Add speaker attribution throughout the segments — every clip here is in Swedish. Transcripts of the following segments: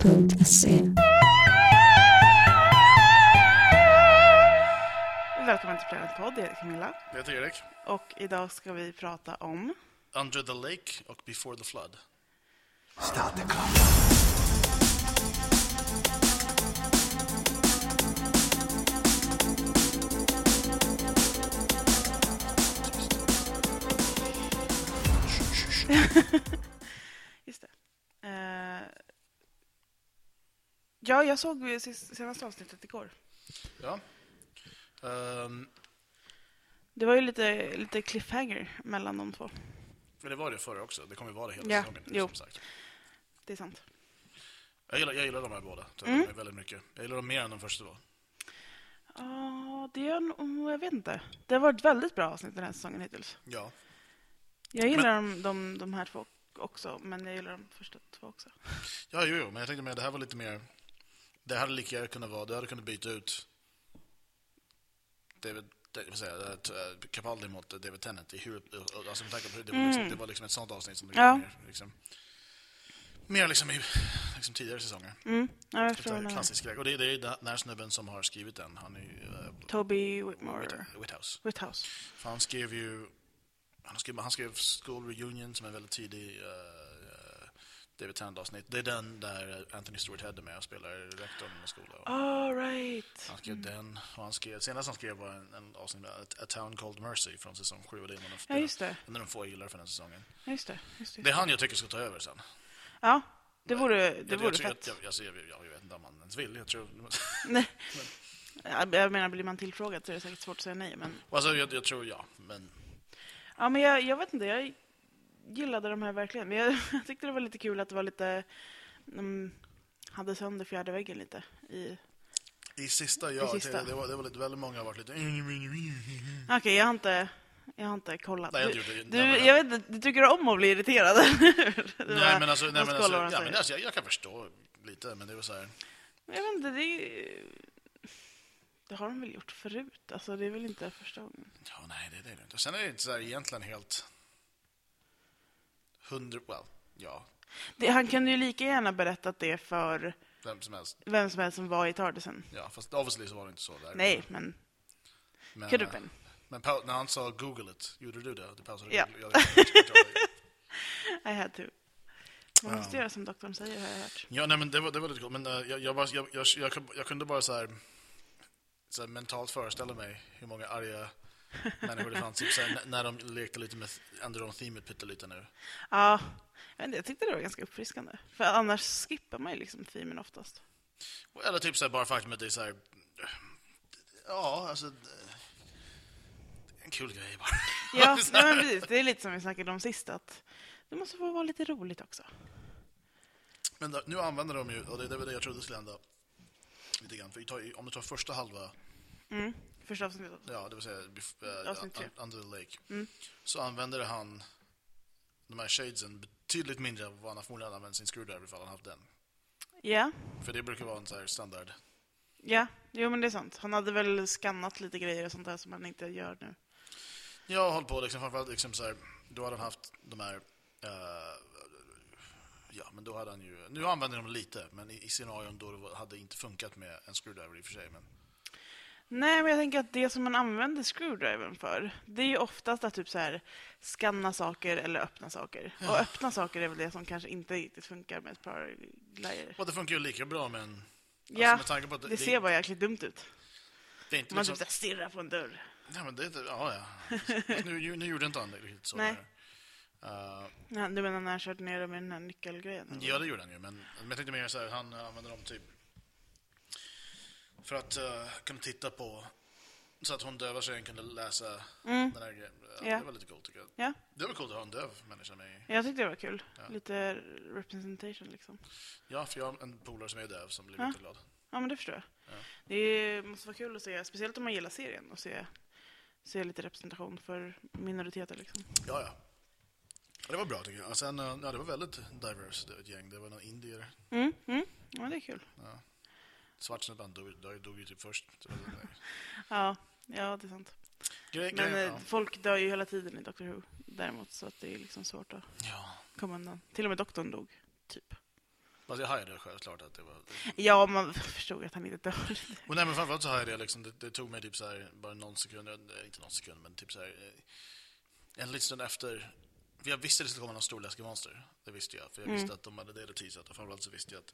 Speaker 1: planeten.se.
Speaker 2: Välkommen till Planet Podd, jag heter Camilla.
Speaker 3: Jag heter Erik.
Speaker 2: Och idag ska vi prata om...
Speaker 3: Under the Lake och Before the Flood.
Speaker 2: Just det. Eh, Ja, jag såg ju sist- senaste avsnittet igår.
Speaker 3: Ja. Ehm,
Speaker 2: Det var ju lite, lite cliffhanger mellan de två.
Speaker 3: men det var det förra också. Det kommer ju vara det hela
Speaker 2: Ja,
Speaker 3: säsongen.
Speaker 2: jo.
Speaker 3: Som sagt.
Speaker 2: Det är sant.
Speaker 3: Jag, gillar, jag gillar de här båda tror
Speaker 2: Mm.
Speaker 3: jag, väldigt mycket. Jag gillar dem mer än de första då.
Speaker 2: Ja, det är nog... mm, Jag vet inte. Det har varit väldigt bra avsnitt den här säsongen hittills.
Speaker 3: Ja.
Speaker 2: Jag gillar de, de, de här två också, men jag gillar de första två också.
Speaker 3: ja, jo, jo, men jag tänkte mer, det här var lite mer... Det hade lika gärna kunnat vara, du hade kunnat byta ut David, David vad säger jag, eh, Capaldi mot David Tennant i hur, alltså med tanke på hur det var, liksom, det var liksom ett sånt avsnitt som du
Speaker 2: Mm. Ja.
Speaker 3: gjorde mer, liksom, mer liksom i liksom tidigare säsonger.
Speaker 2: Mm. Ja, jag
Speaker 3: Typ
Speaker 2: förstår vad
Speaker 3: så här
Speaker 2: du menar.
Speaker 3: klassisk skräck. Och det, det är ju den här snubben som har skrivit den. Han är ju... eh,
Speaker 2: Toby Whitmore.
Speaker 3: Whit- Whithouse.
Speaker 2: Whithouse.
Speaker 3: För han skrev ju... Han skrev, han skrev School Reunion som är en väldigt tidig eh, eh, David Tennant-avsnitt. Det är den där Anthony Stewart Head är med och spelar rektorn i skolan.
Speaker 2: All right.
Speaker 3: Han skrev den. Och han skrev, senast han skrev var en, en avsnitt med A- A Town Called Mercy från säsong 7. Och det är en av de-
Speaker 2: Ja, just det.
Speaker 3: en av de få jag gillar för den säsongen.
Speaker 2: Ja, Just det. Just det.
Speaker 3: Det är han jag tycker ska ta över sen.
Speaker 2: Ja, det vore, det
Speaker 3: jag,
Speaker 2: vore
Speaker 3: jag, tror-
Speaker 2: fett.
Speaker 3: Jag, jag, jag, ser- jag, jag vet inte om han ens vill. Jag tror...
Speaker 2: Nej. Ja, Jag menar, blir man tillfrågad så är det säkert svårt att säga nej. Men,
Speaker 3: Alltså, jag, jag tror ja, men...
Speaker 2: ja, men jag, jag vet inte, jag gillade de här verkligen. Men jag, jag tyckte det var lite kul att det var lite... De hade sönder fjärde väggen lite. I...
Speaker 3: I sista, ja.
Speaker 2: I sista.
Speaker 3: Det, det, var, det var lite, väldigt många har varit lite...
Speaker 2: Okej, jag har inte... Jag har inte kollat.
Speaker 3: Mm. Nej, jag
Speaker 2: du,
Speaker 3: gjorde det.
Speaker 2: du,
Speaker 3: Nej, men-
Speaker 2: jag vet inte, du tycker om att bli irriterad, eller
Speaker 3: Nej, men alltså... Nej, men alltså, ja, men
Speaker 2: jag...
Speaker 3: alltså jag, jag kan förstå lite, men det var så här...
Speaker 2: jag vet inte, det är ju... Det har de väl gjort förut? Alltså, det är väl inte första gången?
Speaker 3: Ja, nej, det, det är det inte. Sen är det inte så här egentligen helt... Hundra... Well, ja.
Speaker 2: Det, han kunde ju lika gärna berättat det för
Speaker 3: Vem som helst.
Speaker 2: vem som helst som var i Tardisen.
Speaker 3: Ja, fast obviously så var det inte så där.
Speaker 2: Nej, men
Speaker 3: men,
Speaker 2: could
Speaker 3: eh,
Speaker 2: have been.
Speaker 3: men pau- när han sa Google it, gjorde du det? Du pausade
Speaker 2: Ja.
Speaker 3: Google. Ja, det-
Speaker 2: I had to. Man
Speaker 3: Ja.
Speaker 2: måste göra som doktorn säger, har jag hört.
Speaker 3: Ja, nej, men det var, det var lite coolt. Men eh, jag, jag, bara, jag, jag, jag, kunde- jag kunde bara så här, så här mentalt föreställa mig hur många arga människor det fanns typ, så här, n- när de lekte lite med Enderon-themet pyttelite nu.
Speaker 2: Ja, jag, vet inte, jag tyckte det var ganska uppfriskande. För annars skippar man ju liksom filmen oftast.
Speaker 3: Eller typ så här, bara faktum att det är så här... Ja, alltså... eh, En kul grej bara.
Speaker 2: Ja, nej, men precis. Det är lite som vi snackade om sist, att det måste få vara lite roligt också.
Speaker 3: Men då, nu använder de ju, och det, det var det jag trodde skulle hända, lite grann. För vi tar, ju- om du tar första halva
Speaker 2: Mm. Första avsnittet.
Speaker 3: Ja, det vill säga bef- eh,
Speaker 2: Avsnitt tre. Mm.
Speaker 3: un- Under the Lake. Så använder han de här shadesen betydligt mindre än vad han förmodligen hade använt sin screwdriver ifall han haft den.
Speaker 2: Ja,
Speaker 3: För det brukar vara en sån här standard.
Speaker 2: ja. Jo, men det är sant. Han hade väl skannat lite grejer och sånt där som han inte gör nu.
Speaker 3: Jag håller på liksom, framförallt liksom så här, då hade han haft de här, eh, ja men då hade han ju, nu använder de lite, men i, i scenarion då det var- hade det inte funkat med en screwdriver i och för sig. Men,
Speaker 2: Nej, men jag tänker att det som man använder screwdrivern för, det är ju oftast att typ så här skanna saker eller öppna saker. Och öppna saker är väl det som kanske inte riktigt funkar med ett par glajjor.
Speaker 3: och det funkar ju lika bra med en, alltså
Speaker 2: Ja,
Speaker 3: med tanke på att
Speaker 2: det,
Speaker 3: det-
Speaker 2: ser bara jäkligt dumt ut.
Speaker 3: det är inte
Speaker 2: Om man
Speaker 3: liksom-
Speaker 2: typ så här stirrar på en dörr.
Speaker 3: nej men det är inte, ja ja. Fast Nu, ju- nu gjorde inte han det riktigt så.
Speaker 2: Nej.
Speaker 3: där. Eh,
Speaker 2: Ja, du menar när han körde ner dem med den här nyckelgrejen? eller?
Speaker 3: Ja, det gjorde han ju. Men, men jag tänkte mer så här, han eh, använder dem typ för att eh, kunna titta på så att hon döva tjejen kunde läsa den här grejen. Ja,
Speaker 2: Mm. Ja.
Speaker 3: Det var lite coolt tycker jag.
Speaker 2: Ja,
Speaker 3: Det var coolt att ha en döv människa med. i-
Speaker 2: jag tyckte det var kul. Lite representation liksom.
Speaker 3: Ja, för jag har en polare som är döv som blev
Speaker 2: Ja.
Speaker 3: jätteglad.
Speaker 2: Ja, men det förstår jag. Det måste vara kul att se, speciellt om man gillar serien, och se, se lite representation för minoriteter liksom.
Speaker 3: Ja, ja. Ja, Det var bra tycker jag. Och sen, eh, ja, det var väldigt diverse det var ett gäng. Det var någon indier.
Speaker 2: Mm, mm. Ja, det är kul.
Speaker 3: Svart snubbe, han dog, dog, dog ju typ först. Så det var-
Speaker 2: Ja, ja det är sant.
Speaker 3: Grej,
Speaker 2: Men
Speaker 3: grej,
Speaker 2: eh, folk dör ju hela tiden i Doctor Who. Däremot så att det är liksom svårt att
Speaker 3: ja.
Speaker 2: komma undan. Till och med doktorn dog, typ.
Speaker 3: Fast jag hajade självklart att det var...
Speaker 2: Ja, man förstod att han inte dör.
Speaker 3: Och nej, men framförallt så hajade jag liksom, det, det tog mig typ så här, bara någon sekund, eh, inte någon sekund, men typ så här, eh, en liten stund efter. för Jag visste att det skulle komma någon stor läskig monster. Det visste jag, för jag visste att de hade det teaset. Och framförallt så visste jag att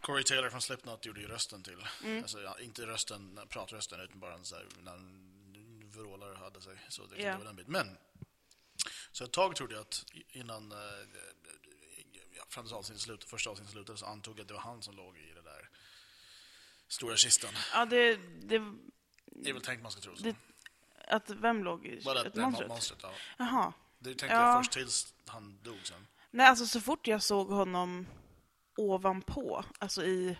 Speaker 3: Corey Taylor från Slipknot gjorde ju rösten till, alltså ja, inte rösten, pratrösten, utan bara en så här, när han vrålar och hade sig. Så det,
Speaker 2: Ja.
Speaker 3: det var den biten. Men så ett tag trodde jag att innan eh, ja, fram till avsnittet slut, första avsnittet slutade så antog jag att det var han som låg i det där stora kistan.
Speaker 2: Ja, det... det,
Speaker 3: Det är väl tänkt man ska tro så.
Speaker 2: det att vem låg i
Speaker 3: Bara
Speaker 2: ett
Speaker 3: det här
Speaker 2: monstret?
Speaker 3: monstret, ja.
Speaker 2: Jaha.
Speaker 3: Det tänkte
Speaker 2: Ja.
Speaker 3: jag först tills han dog sen.
Speaker 2: Nej, alltså så fort jag såg honom ovanpå, alltså i,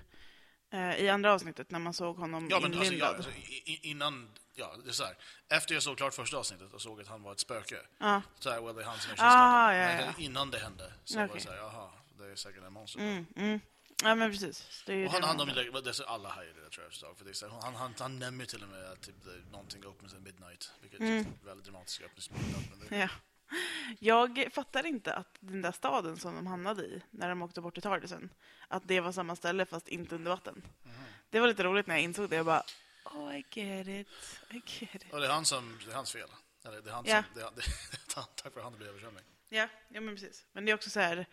Speaker 2: eh, i andra avsnittet när man såg honom
Speaker 3: Ja, men alltså, ja,
Speaker 2: inlindad.
Speaker 3: alltså, i- i- innan... Ja, det är så här. Efter jag såg klart första avsnittet och såg att han var ett spöke.
Speaker 2: Ja.
Speaker 3: Så här, well, det är han som är i
Speaker 2: Ah,
Speaker 3: kistan.
Speaker 2: ja,
Speaker 3: Men
Speaker 2: ja.
Speaker 3: innan det hände så var det
Speaker 2: Okej.
Speaker 3: så här, jaha, det är säkert en monster.
Speaker 2: Mm, mm. ja, men precis. Det är ju
Speaker 3: Och han
Speaker 2: det
Speaker 3: hann om
Speaker 2: handlar om.
Speaker 3: det, det så alla hajade det tror jag förstås. För det är så här, han, han, han nämner ju till och med att typ, det- någonting opens at midnight. Vilket
Speaker 2: Mm.
Speaker 3: känns väldigt dramatiskt, opens at midnight. Men det,
Speaker 2: Ja. Jag fattar inte att den där staden som de hamnade i när de åkte bort till Tardisen, att det var samma ställe fast inte under vatten.
Speaker 3: Mm.
Speaker 2: Det var lite roligt när jag insåg det. Jag bara, oh I get it, I get it.
Speaker 3: och det är han som, det är hans fel. Eller det är han
Speaker 2: Ja.
Speaker 3: som, det, är- det, det, tack för att han blev översvämning.
Speaker 2: Ja, ja men precis. Men det är också så här...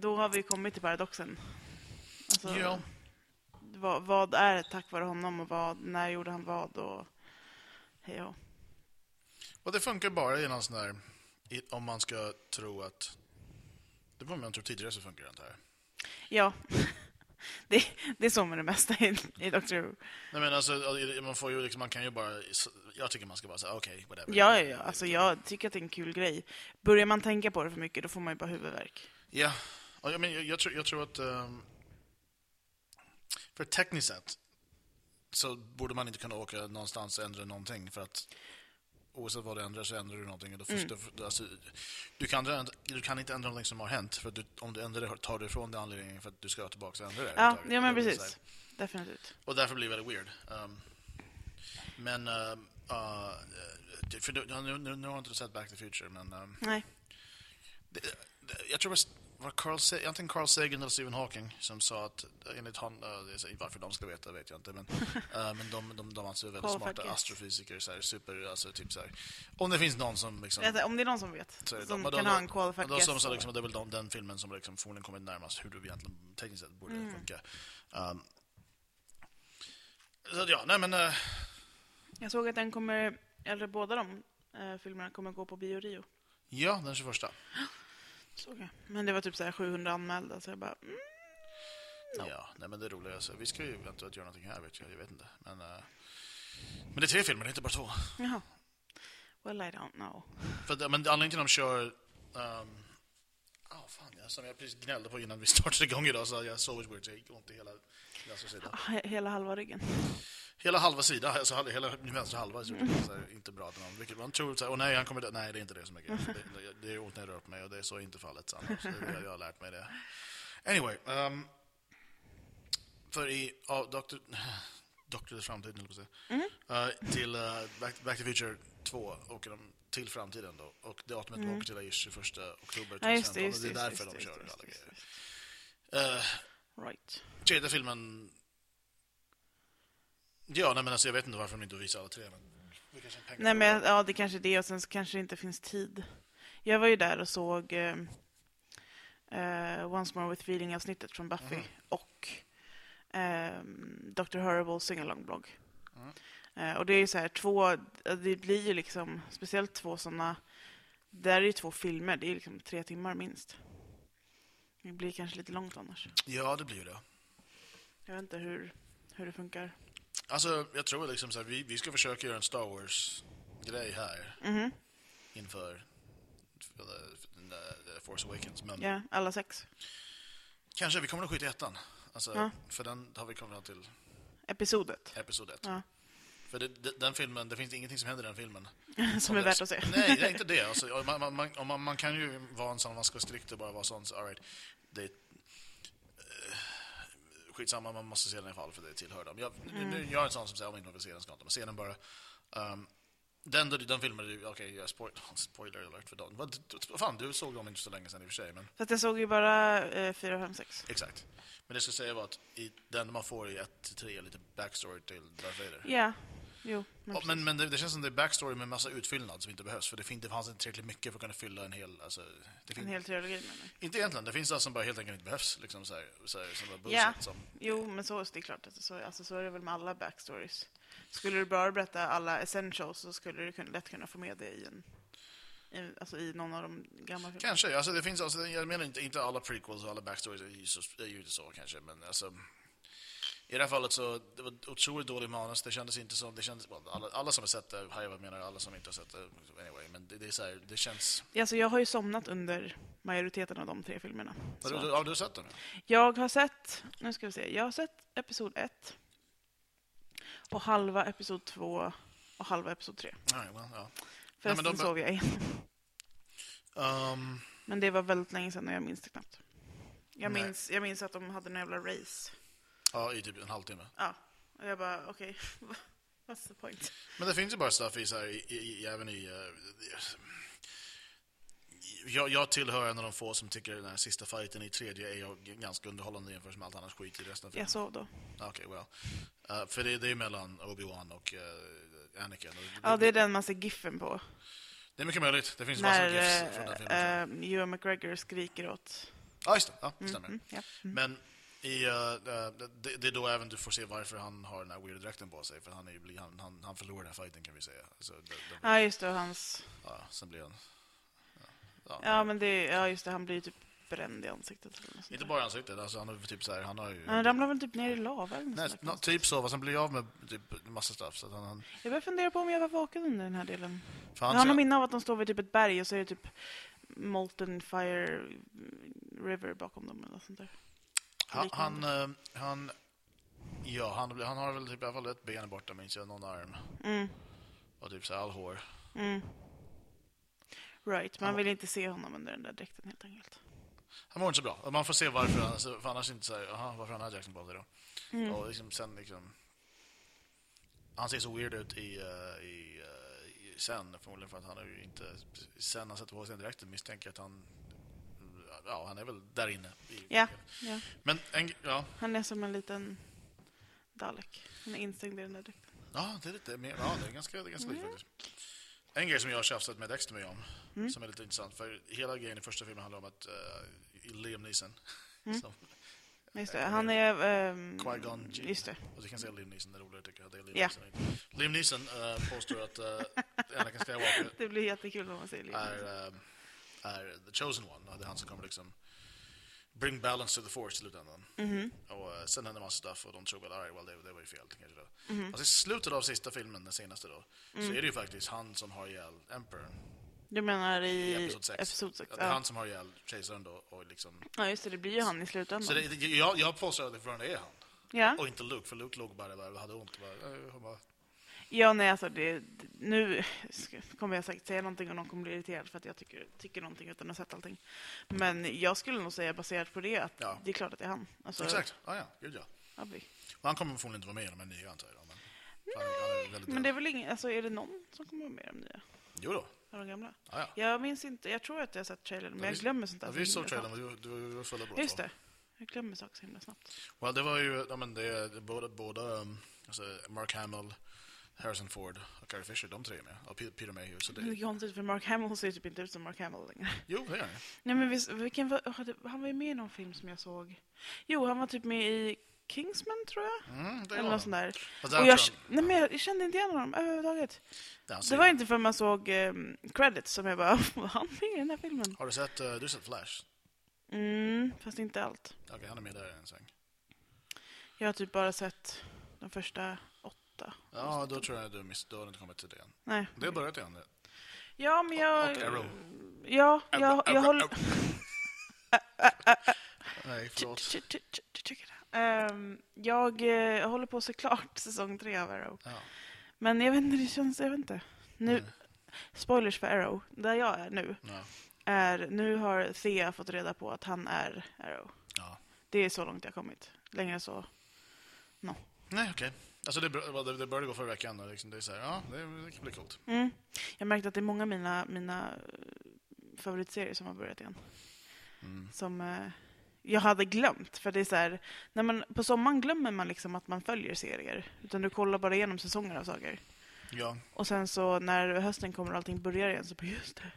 Speaker 2: Då har vi kommit till paradoxen. Alltså,
Speaker 3: Ja.
Speaker 2: vad, vad är tack vare honom och vad, när gjorde han vad och... Hej och.
Speaker 3: Och det funkar bara i någon sån här... I, om man ska tro att... Det var om jag tror tidigare så funkar det inte här.
Speaker 2: Ja. det, det är så med det mesta i, i Doctor Who.
Speaker 3: Nej men alltså, i- man får ju liksom, man kan ju bara... Jag tycker man ska bara säga okej, whatever.
Speaker 2: Ja, ja, ja. Alltså, jag tycker att det är en kul grej. Börjar man tänka på det för mycket, då får man ju bara huvudvärk.
Speaker 3: Ja. Ja, jag, men, jag, jag, tror, jag tror att... ehm, för tekniskt sett så borde man inte kunna åka någonstans och ändra någonting för att oavsett vad du ändrar så ändrar du någonting. Och då
Speaker 2: Mm.
Speaker 3: först, då, alltså, du, kan, ändra- du kan inte ändra någonting som har hänt för att du, om du ändrar det tar du ifrån det anledningen för att du ska ha tillbaka och ändra det.
Speaker 2: Ja,
Speaker 3: överhuvudtaget.
Speaker 2: ja men
Speaker 3: Det blir så
Speaker 2: precis. Definitivt.
Speaker 3: här. Och därför blir det väldigt weird. Ehm, men... ehm, ah, eh, för, nu, nu, nu, nu har jag inte sett Back to the Future men... ehm,
Speaker 2: Nej.
Speaker 3: det- det- jag tror det var Carl, Sa- antingen Carl Sagan eller Stephen Hawking som sa att enligt han, eh, det är så- varför de ska veta vet jag inte, men, eh, men de, de, de anser väldigt
Speaker 2: Carl
Speaker 3: smarta
Speaker 2: Sagan.
Speaker 3: astrofysiker, så här, super, alltså, typ så här. om det finns någon som liksom,
Speaker 2: Vänta, om det är någon som vet,
Speaker 3: så är det
Speaker 2: som
Speaker 3: men
Speaker 2: kan
Speaker 3: då,
Speaker 2: ha en qualified
Speaker 3: men då, som,
Speaker 2: guess.
Speaker 3: så liksom, Det är väl de, den filmen som liksom, förmodligen kommit närmast hur du egentligen tekniskt sett borde funka. Um, så att, ja, nej men... eh,
Speaker 2: Jag såg att den kommer, eller båda de eh, filmerna kommer gå på Bio Rio.
Speaker 3: ja, den 21.
Speaker 2: Såg jag. Men det var typ så här 700 anmälda, så jag bara... Mm.
Speaker 3: Ja, nej men det är roligt. Alltså, vi ska ju eventuellt göra någonting här, vet jag. Jag vet inte. Men, eh, men det är tre filmer, det är inte bara två.
Speaker 2: Jaha. Well, I don't know.
Speaker 3: För att, men anledningen till att de kör... ehm, ah, fan, jag, som jag precis gnällde på innan vi startade igång idag så jag sov weird, så jag gick ont i hela vänster sida.
Speaker 2: Ah, He- Hela halva ryggen.
Speaker 3: Hela halva sida, alltså hela, hela min vänstra halva, så det
Speaker 2: Mm.
Speaker 3: är så här, inte bra. till någon. Vilket man tror, så här, åh nej, han kommer dö. Nej, det är inte det som är grejen.
Speaker 2: Mm.
Speaker 3: Det, det, det är ont när jag rör på mig och det är så inte fallet. Sandra. Så det, jag, jag har lärt mig det. Anyway. ehm, för i ja, Dr. Doctors framtid, höll jag på att säga.
Speaker 2: Mm.
Speaker 3: Eh, till eh, Back, Back to the Future 2 åker de till framtiden då. Och det datumet de åker till är ju 21 oktober
Speaker 2: Mm.
Speaker 3: 2015.
Speaker 2: Ja, just det,
Speaker 3: och
Speaker 2: just
Speaker 3: det
Speaker 2: det.
Speaker 3: är
Speaker 2: just det,
Speaker 3: därför
Speaker 2: just
Speaker 3: de
Speaker 2: det,
Speaker 3: kör
Speaker 2: just
Speaker 3: alla
Speaker 2: det, just
Speaker 3: grejer.
Speaker 2: det.
Speaker 3: Eh,
Speaker 2: Right.
Speaker 3: Tredje filmen... Ja, nej, men alltså, jag vet inte varför de inte visar alla tre. Men det kanske är pengar.
Speaker 2: Nej, men ja, det kanske är det och sen så kanske det inte finns tid. Jag var ju där och såg eh, eh, Once More With Feeling-avsnittet från Buffy
Speaker 3: Mhm.
Speaker 2: och eh, Dr. Horrible Singalong-blogg. Eh, och det är ju så här två, det blir ju liksom speciellt två sådana, där är ju två filmer, det är liksom tre timmar minst. Det blir kanske lite långt annars.
Speaker 3: Ja, det blir ju det.
Speaker 2: Jag vet inte hur, hur det funkar.
Speaker 3: Alltså, jag tror liksom så här, vi, vi ska försöka göra en Star Wars-grej här
Speaker 2: Mhm,
Speaker 3: inför för the, för den där, The Force Awakens. Men
Speaker 2: ja, alla sex.
Speaker 3: kanske, vi kommer att skita i ettan. Alltså,
Speaker 2: Ja.
Speaker 3: För den har vi kommit fram till
Speaker 2: Episodet,
Speaker 3: episod ett.
Speaker 2: Ja.
Speaker 3: För det, det, den filmen, det finns ingenting som händer i den filmen.
Speaker 2: som är värt att se.
Speaker 3: Nej, det är inte det. Alltså, om man, man, man, om man, man kan ju vara en sån, man ska strikt och bara vara sån. Så, all right, det, eh, skitsamma, man
Speaker 2: Mm.
Speaker 3: måste se den i alla fall för det tillhör dem. Jag, nu, nu, jag är en sån som säger om jag inte vill se den ska jag inte, men se den bara. Ehm, Den, den filmen, är ju- okej, jag spoil, spoiler alert för dagen. Vad vad fan, du såg dem inte så länge sedan i och för sig, men
Speaker 2: För att jag såg ju bara eh, 4, 5, 6.
Speaker 3: exakt. Men det jag skulle säga var att i, den man får i 1-3 är lite backstory till Darth Vader.
Speaker 2: Ja, jo. men
Speaker 3: Ja, men men det, det känns som det är backstory med massa utfyllnad som inte behövs, för det, fin- det fanns inte tillräckligt mycket för att kunna fylla en hel... Alltså, det
Speaker 2: En
Speaker 3: fin-
Speaker 2: hel trilogi menar jag.
Speaker 3: Inte egentligen, det finns alltså som bara helt enkelt inte behövs. Liksom, så här, så här, som bara bullshit,
Speaker 2: Ja.
Speaker 3: som,
Speaker 2: Jo, men så det är klart. Alltså, så, alltså, så är det väl med alla backstories. Skulle du bara berätta alla essentials så skulle du kun- lätt kunna få med det i en... I, alltså i någon av de gamla filmerna.
Speaker 3: Kanske, alltså det finns, alltså, jag menar inte, inte alla prequels och alla backstories är ju, så, är ju inte så kanske, men alltså i det här fallet så, det var otroligt dålig manus, det kändes inte som, det kändes, well, alla, alla som har sett det hajar vad jag menar, alla som inte har sett det, anyway, men det, det är så här, det känns...
Speaker 2: Alltså, jag har ju somnat under majoriteten av de tre filmerna.
Speaker 3: Har
Speaker 2: Så.
Speaker 3: du, har du sett den?
Speaker 2: Jag har sett, nu ska vi se, jag har sett episod 1 och halva episod 2 och halva episod 3.
Speaker 3: Nej, well, ja. men
Speaker 2: Förresten
Speaker 3: de be-
Speaker 2: sov jag i.
Speaker 3: Ehm,
Speaker 2: Men det var väldigt länge sedan och jag minns det knappt. Jag
Speaker 3: Nej.
Speaker 2: minns, jag minns att de hade en jävla race.
Speaker 3: ja, i typ en halvtimme.
Speaker 2: Ja, och jag bara okej, what's the point?
Speaker 3: Men det finns ju bara stuff i, så här, i, i, i även i... eh, i- jag, jag tillhör en av de få som tycker den här sista fighten i tredje är ju ganska underhållande jämfört med allt annat skit i resten av filmen. Ah,
Speaker 2: Jag sov då.
Speaker 3: Okej, well. Eh, för det, det är mellan Obi-Wan och eh, Anakin. Och
Speaker 2: Ja, det är den man ser giffen på.
Speaker 3: det är mycket möjligt. Det finns massor
Speaker 2: När
Speaker 3: av gifs från den filmen.
Speaker 2: eh, eh, Ewan McGregor skriker åt...
Speaker 3: Ja, just det. Ja, det stämmer.
Speaker 2: Mm, ja.
Speaker 3: Men i, eh, eh, det, det är då även du får se varför han har den här weirda dräkten på sig. För han, är, ju bli- han, han, han förlorar den här fighten kan vi säga. Så det, det,
Speaker 2: ja, just det, och hans...
Speaker 3: ja, sen blir han... Ja,
Speaker 2: Ja, men det, ja, just det, han blir ju typ bränd i ansiktet. Eller något sånt
Speaker 3: Inte
Speaker 2: där.
Speaker 3: bara i ansiktet. Alltså, han, har, typ så här, han har ju...
Speaker 2: Han ramlar väl typ ner liksom. i lava eller något
Speaker 3: Nej,
Speaker 2: sånt där
Speaker 3: nå-
Speaker 2: konstigt.
Speaker 3: typ så. Fast han blir av med typ, massa stuff. Så att han, han,
Speaker 2: Jag börjar fundera på om jag var vaken under den här delen. Jag
Speaker 3: för han,
Speaker 2: har något minne av att de står vid typ ett berg och så är det typ Molten Fire River bakom dem eller något sånt där.
Speaker 3: Han, han,
Speaker 2: liknande.
Speaker 3: eh, han, ja, han, han har väl typ i alla fall ett ben borta, minns jag, någon arm.
Speaker 2: Mm,
Speaker 3: Och typ så här all hår.
Speaker 2: mm. Right, man
Speaker 3: Han-
Speaker 2: vill inte se honom under den där dräkten helt enkelt.
Speaker 3: Han mår inte så bra. Och man får se varför, han, så- för annars inte så här, aha, varför han har Jackson på sig då.
Speaker 2: Mm.
Speaker 3: Och liksom, sen liksom... Han ser så weird ut i, eh, i, eh, i sen, förmodligen för att han har ju inte... Sen han sätter på sig den dräkten misstänker jag att han... Ja, han är väl där inne. i-
Speaker 2: Ja. Ja.
Speaker 3: Men en, ja,
Speaker 2: Han är som en liten Dalek. Han är instängd i den där dräkten.
Speaker 3: Ja, det är lite mer, ja, det är ganska, det är ganska likt
Speaker 2: Mm.
Speaker 3: faktiskt. En grej som jag har tjafsat med Dexter mycket om, som är lite intressant, för hela grejen i första filmen handlar om att uh, Liam Neeson,
Speaker 2: Mm.
Speaker 3: som,
Speaker 2: Just det, han är... ehm,
Speaker 3: Qui-Gon Jinn.
Speaker 2: just det.
Speaker 3: och du kan säga Liam Neeson, det är roligare tycker jag, det är Liam
Speaker 2: Ja.
Speaker 3: Neeson. Liam Neeson eh, påstår att uh, Anakin Skywalker
Speaker 2: Det blir jättekul om man säger Liam Neeson.
Speaker 3: är, eh, är the chosen one, och det är han som kommer liksom bring balance to the force i slutändan.
Speaker 2: Mhm.
Speaker 3: Och eh, sen händer massa stuff och de tror väl, alright, well, det, det var ju fel. Kanske då.
Speaker 2: Mhm.
Speaker 3: Alltså, I slutet av sista filmen, den senaste då,
Speaker 2: Mm.
Speaker 3: så är det ju faktiskt han som har ihjäl Emperorn.
Speaker 2: Du menar
Speaker 3: i
Speaker 2: i
Speaker 3: episod 6.
Speaker 2: episod 6?
Speaker 3: det är
Speaker 2: Ja.
Speaker 3: han som har ihjäl kejsaren då. Och liksom.
Speaker 2: ja, just det, det blir ju han i slutändan.
Speaker 3: Så det, det- jag, jag påstår att det fortfarande är han.
Speaker 2: Ja.
Speaker 3: Och inte Luke, för Luke låg bara där och hade ont. Och bara, eh, och bara,
Speaker 2: Ja, nej, alltså det, nu ska- kommer jag säkert säga någonting och någon kommer bli irriterad för att jag tycker, tycker någonting utan att ha sett allting. Men jag skulle nog säga baserat på det att
Speaker 3: Ja.
Speaker 2: det är klart att det är han. Alltså,
Speaker 3: Exakt, ah, ja, gud ja.
Speaker 2: Abby.
Speaker 3: Och han kommer förmodligen inte vara med i de här nya antar jag. Men, för han, han är väldigt
Speaker 2: Men
Speaker 3: men
Speaker 2: det är väl ingen, alltså är det någon som kommer vara med i de nya?
Speaker 3: Jo då.
Speaker 2: Av de gamla?
Speaker 3: Ah, ja.
Speaker 2: Jag minns inte, jag tror att jag har sett trailern, men
Speaker 3: Ja,
Speaker 2: jag
Speaker 3: vi-
Speaker 2: glömmer sånt där.
Speaker 3: Ja,
Speaker 2: så
Speaker 3: vi såg
Speaker 2: himla
Speaker 3: trailern, men du, du var fulla båda
Speaker 2: snabbt. Just
Speaker 3: två.
Speaker 2: det. Jag glömmer saker så himla snabbt.
Speaker 3: Well, det var ju, ja, men det, det, båda, båda um, alltså Mark Hamill, Harrison Ford och Carrie Fisher, de tre är med. Och Peter, Peter Mayhew. Så
Speaker 2: Det är
Speaker 3: det,
Speaker 2: konstigt för Mark Hamill ser ju typ inte ut som Mark Hamill längre.
Speaker 3: jo, det är han ju.
Speaker 2: Nej men visst, vilken var, hade- han var ju med i någon film som jag såg. Jo, han var typ med i Kingsman tror jag.
Speaker 3: Mm, det är
Speaker 2: Eller
Speaker 3: han.
Speaker 2: något sånt där.
Speaker 3: Och
Speaker 2: Och
Speaker 3: där
Speaker 2: jag,
Speaker 3: tror
Speaker 2: nej, men jag kände inte igen honom överhuvudtaget.
Speaker 3: jag- han
Speaker 2: Det
Speaker 3: ser-
Speaker 2: var inte förrän man såg ehm, credits som jag bara, var han med i den här filmen?
Speaker 3: Har du sett, eh, du har sett Flash?
Speaker 2: Mm, fast inte allt.
Speaker 3: Okej, han är med där i en sväng.
Speaker 2: Jag har typ bara sett de första åtta.
Speaker 3: Ja, då tror jag du miss, då har du inte kommit till det än.
Speaker 2: Nej.
Speaker 3: Det har börjat igen. det.
Speaker 2: Ja, men jag...
Speaker 3: Och Arrow.
Speaker 2: Ja, Eh, jag, jag,
Speaker 3: Arrow,
Speaker 2: håller...
Speaker 3: Arrow. Nej, förlåt.
Speaker 2: Ch- ch- ch- ch- ch- check it out. Ehm, Jag eh, håller på att se klart säsong tre av Arrow.
Speaker 3: Ja.
Speaker 2: Men jag vet inte, det känns... Jag vet inte. Nu...
Speaker 3: Mm.
Speaker 2: Spoilers för Arrow. Där jag är nu
Speaker 3: Ja.
Speaker 2: är... Nu har Thea fått reda på att han är Arrow.
Speaker 3: Ja.
Speaker 2: Det är så långt jag kommit. Längre än så.
Speaker 3: Nej, okej. Alltså det, bör- det, det började gå förra veckan och liksom det är så här, ja, det, det kan bli coolt.
Speaker 2: Mm. Jag märkte att det är många av mina, mina eh, favoritserier som har börjat igen.
Speaker 3: Mm.
Speaker 2: Som eh, jag hade glömt. För det är så här, när man, på sommaren glömmer man liksom att man följer serier. Utan du kollar bara igenom säsonger av saker.
Speaker 3: Ja.
Speaker 2: Och sen så när hösten kommer och allting börjar igen så bara just det.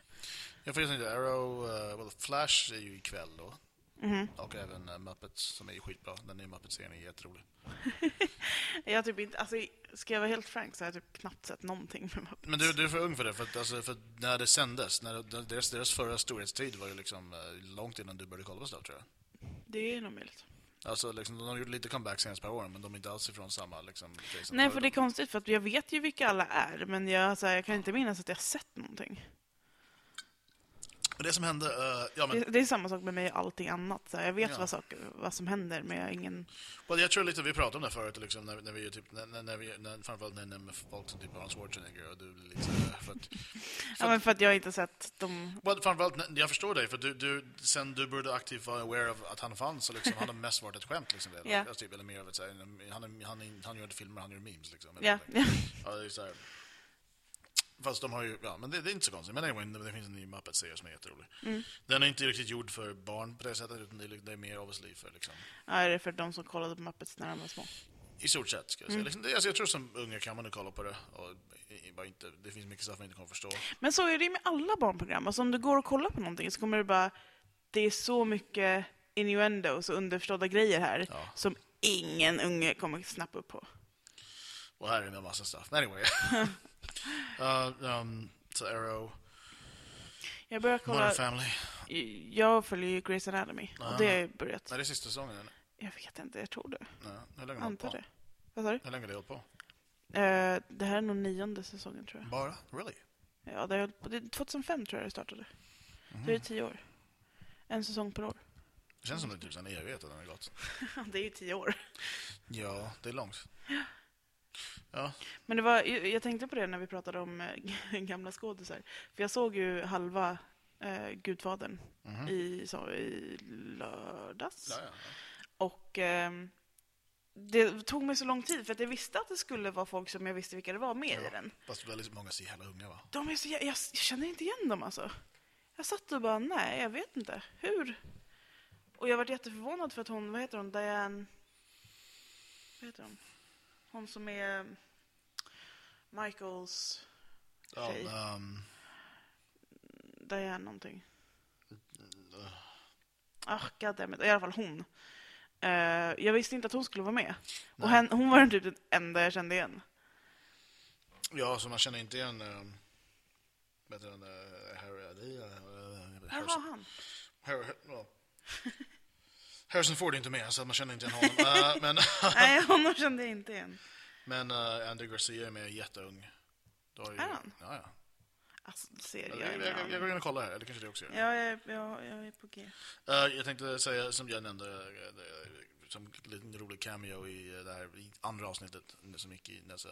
Speaker 3: Jag får just inte Arrow, eh, well, Flash är ju ikväll då.
Speaker 2: Mhm.
Speaker 3: Och även eh, Muppets som är ju skitbra. Den nya Muppets-serien är jätterolig.
Speaker 2: Jag har typ inte, alltså, ska jag vara helt frank så har jag typ knappt sett någonting med Muppets.
Speaker 3: Men du, du är för ung för det, för att, alltså, för att när det sändes, när det- deras, deras förra storhetstid var ju liksom eh, långt innan du började kolla på Star tror jag.
Speaker 2: Det är nog möjligt.
Speaker 3: Alltså liksom, de har gjort lite comeback senaste par åren, men de är inte alls ifrån samma liksom, Jason
Speaker 2: Nej, för
Speaker 3: Bourne.
Speaker 2: det är konstigt för att jag vet ju vilka alla är, men jag, så här, jag kan inte minnas att jag har sett någonting.
Speaker 3: Och det som hände, eh, ja men,
Speaker 2: Det, det är samma sak med mig och allting annat. Så här, jag vet
Speaker 3: Ja.
Speaker 2: vad, saker, vad som händer, men jag har ingen...
Speaker 3: well, jag tror lite vi pratade om det förut, liksom, när, när vi ju typ, när, när- när vi, när, framförallt när jag nämner folk som typ Arnold Schwarzenegger och du blir lite så här, för att,
Speaker 2: Ja, men för att jag inte har sett de...
Speaker 3: well, framförallt, när- jag förstår dig, för du, du, sen du började aktivt vara aware av att han fanns, så liksom, han har mest varit ett skämt liksom, redan.
Speaker 2: Ja.
Speaker 3: Alltså, typ, eller mer av ett så här, han, är- han, är- han gör inte filmer, han gör memes liksom. eller
Speaker 2: Ja,
Speaker 3: någonting.
Speaker 2: ja.
Speaker 3: Ja, det är så här. Fast de har ju, ja, men det, det är inte så konstigt. Men anyway, det finns en ny Muppet-serie som är jätterolig.
Speaker 2: Mm.
Speaker 3: Den är inte riktigt gjord för barn på det sättet, utan det är, det är mer obviously för liksom,
Speaker 2: ja, är det för de som kollade på Muppets när de var små?
Speaker 3: i stort sett. Ska jag, säga.
Speaker 2: Mm.
Speaker 3: Liksom, det, alltså, jag tror som unga kan man nu kolla på det. Och, i- i- bara inte, det finns mycket saker man inte kommer förstå.
Speaker 2: Men så är det ju med alla barnprogram. Alltså om du går och kollar på någonting så kommer du bara... Det är så mycket innuendos och underförstådda grejer här
Speaker 3: Ja.
Speaker 2: som ingen unge kommer snappa upp på.
Speaker 3: Och här är det en massa stuff. Men anyway. uh, um, så Arrow,
Speaker 2: Jag börjar kolla...
Speaker 3: Modern Family.
Speaker 2: Jag följer ju Grey's Anatomy.
Speaker 3: Ah.
Speaker 2: Och det har jag börjat.
Speaker 3: Nej, det är sista säsongen. eller?
Speaker 2: Jag vet inte, jag tror det.
Speaker 3: Nej, hur länge har det
Speaker 2: Antar
Speaker 3: hållit på?
Speaker 2: det. Vad sa du?
Speaker 3: Hur länge har det hållit på?
Speaker 2: Eh, det här är nog nionde säsongen tror jag.
Speaker 3: Bara? Really?
Speaker 2: Ja, det har hållit på. Det är 2005 tror jag det startade. Så det är tio år. En säsong per år.
Speaker 3: Det känns som det är typ en evighet att den har gått.
Speaker 2: det är ju tio år.
Speaker 3: Ja, det är långt. Ja,
Speaker 2: Men det var, jag jag tänkte på det när vi pratade om eh, gamla skådisar. För jag såg ju halva eh, Gudfadern
Speaker 3: Mhm.
Speaker 2: i, så, i lördags.
Speaker 3: ja, ja.
Speaker 2: Och ehm, det tog mig så lång tid för att jag visste att det skulle vara folk som jag visste vilka det var med i
Speaker 3: Ja.
Speaker 2: den.
Speaker 3: Fast det är liksom många så jävla unga va?
Speaker 2: De är så, jag, jag, jag känner inte igen dem alltså. Jag satt och bara, nej, jag vet inte. Hur? Och jag varit jätteförvånad för att hon, vad heter hon, Diane... Vad heter hon? Hon som är mm, Michaels
Speaker 3: Ja,
Speaker 2: Tjej.
Speaker 3: ehm,
Speaker 2: Diane någonting.
Speaker 3: Mm,
Speaker 2: Ah, goddammit. I alla fall hon. Eh, jag visste inte att hon skulle vara med.
Speaker 3: Nej.
Speaker 2: Och hen, hon var typ den enda jag kände igen.
Speaker 3: ja, så man känner inte igen... Um, vad heter den? eh, Harry... det är, eh,
Speaker 2: Här
Speaker 3: Harrison-
Speaker 2: var han.
Speaker 3: Harry- Har- ja. Harrison Ford är inte med, så man känner inte igen honom. Eh, men
Speaker 2: Nej, honom kände jag inte igen.
Speaker 3: men uh, Andy Garcia är med, jätteung. Då har ju,
Speaker 2: Är han?
Speaker 3: Ja, ja.
Speaker 2: Alltså, du ser, jag, har
Speaker 3: Jag, jag,
Speaker 2: ingen
Speaker 3: jag,
Speaker 2: aning.
Speaker 3: jag går in och kollar här, eller kanske du också gör.
Speaker 2: Ja, jag, är- jag, jag är på G.
Speaker 3: Eh, jag tänkte säga, som jag nämnde, eh, det- som en liten rolig cameo i eh, det här i andra avsnittet som gick i nästa,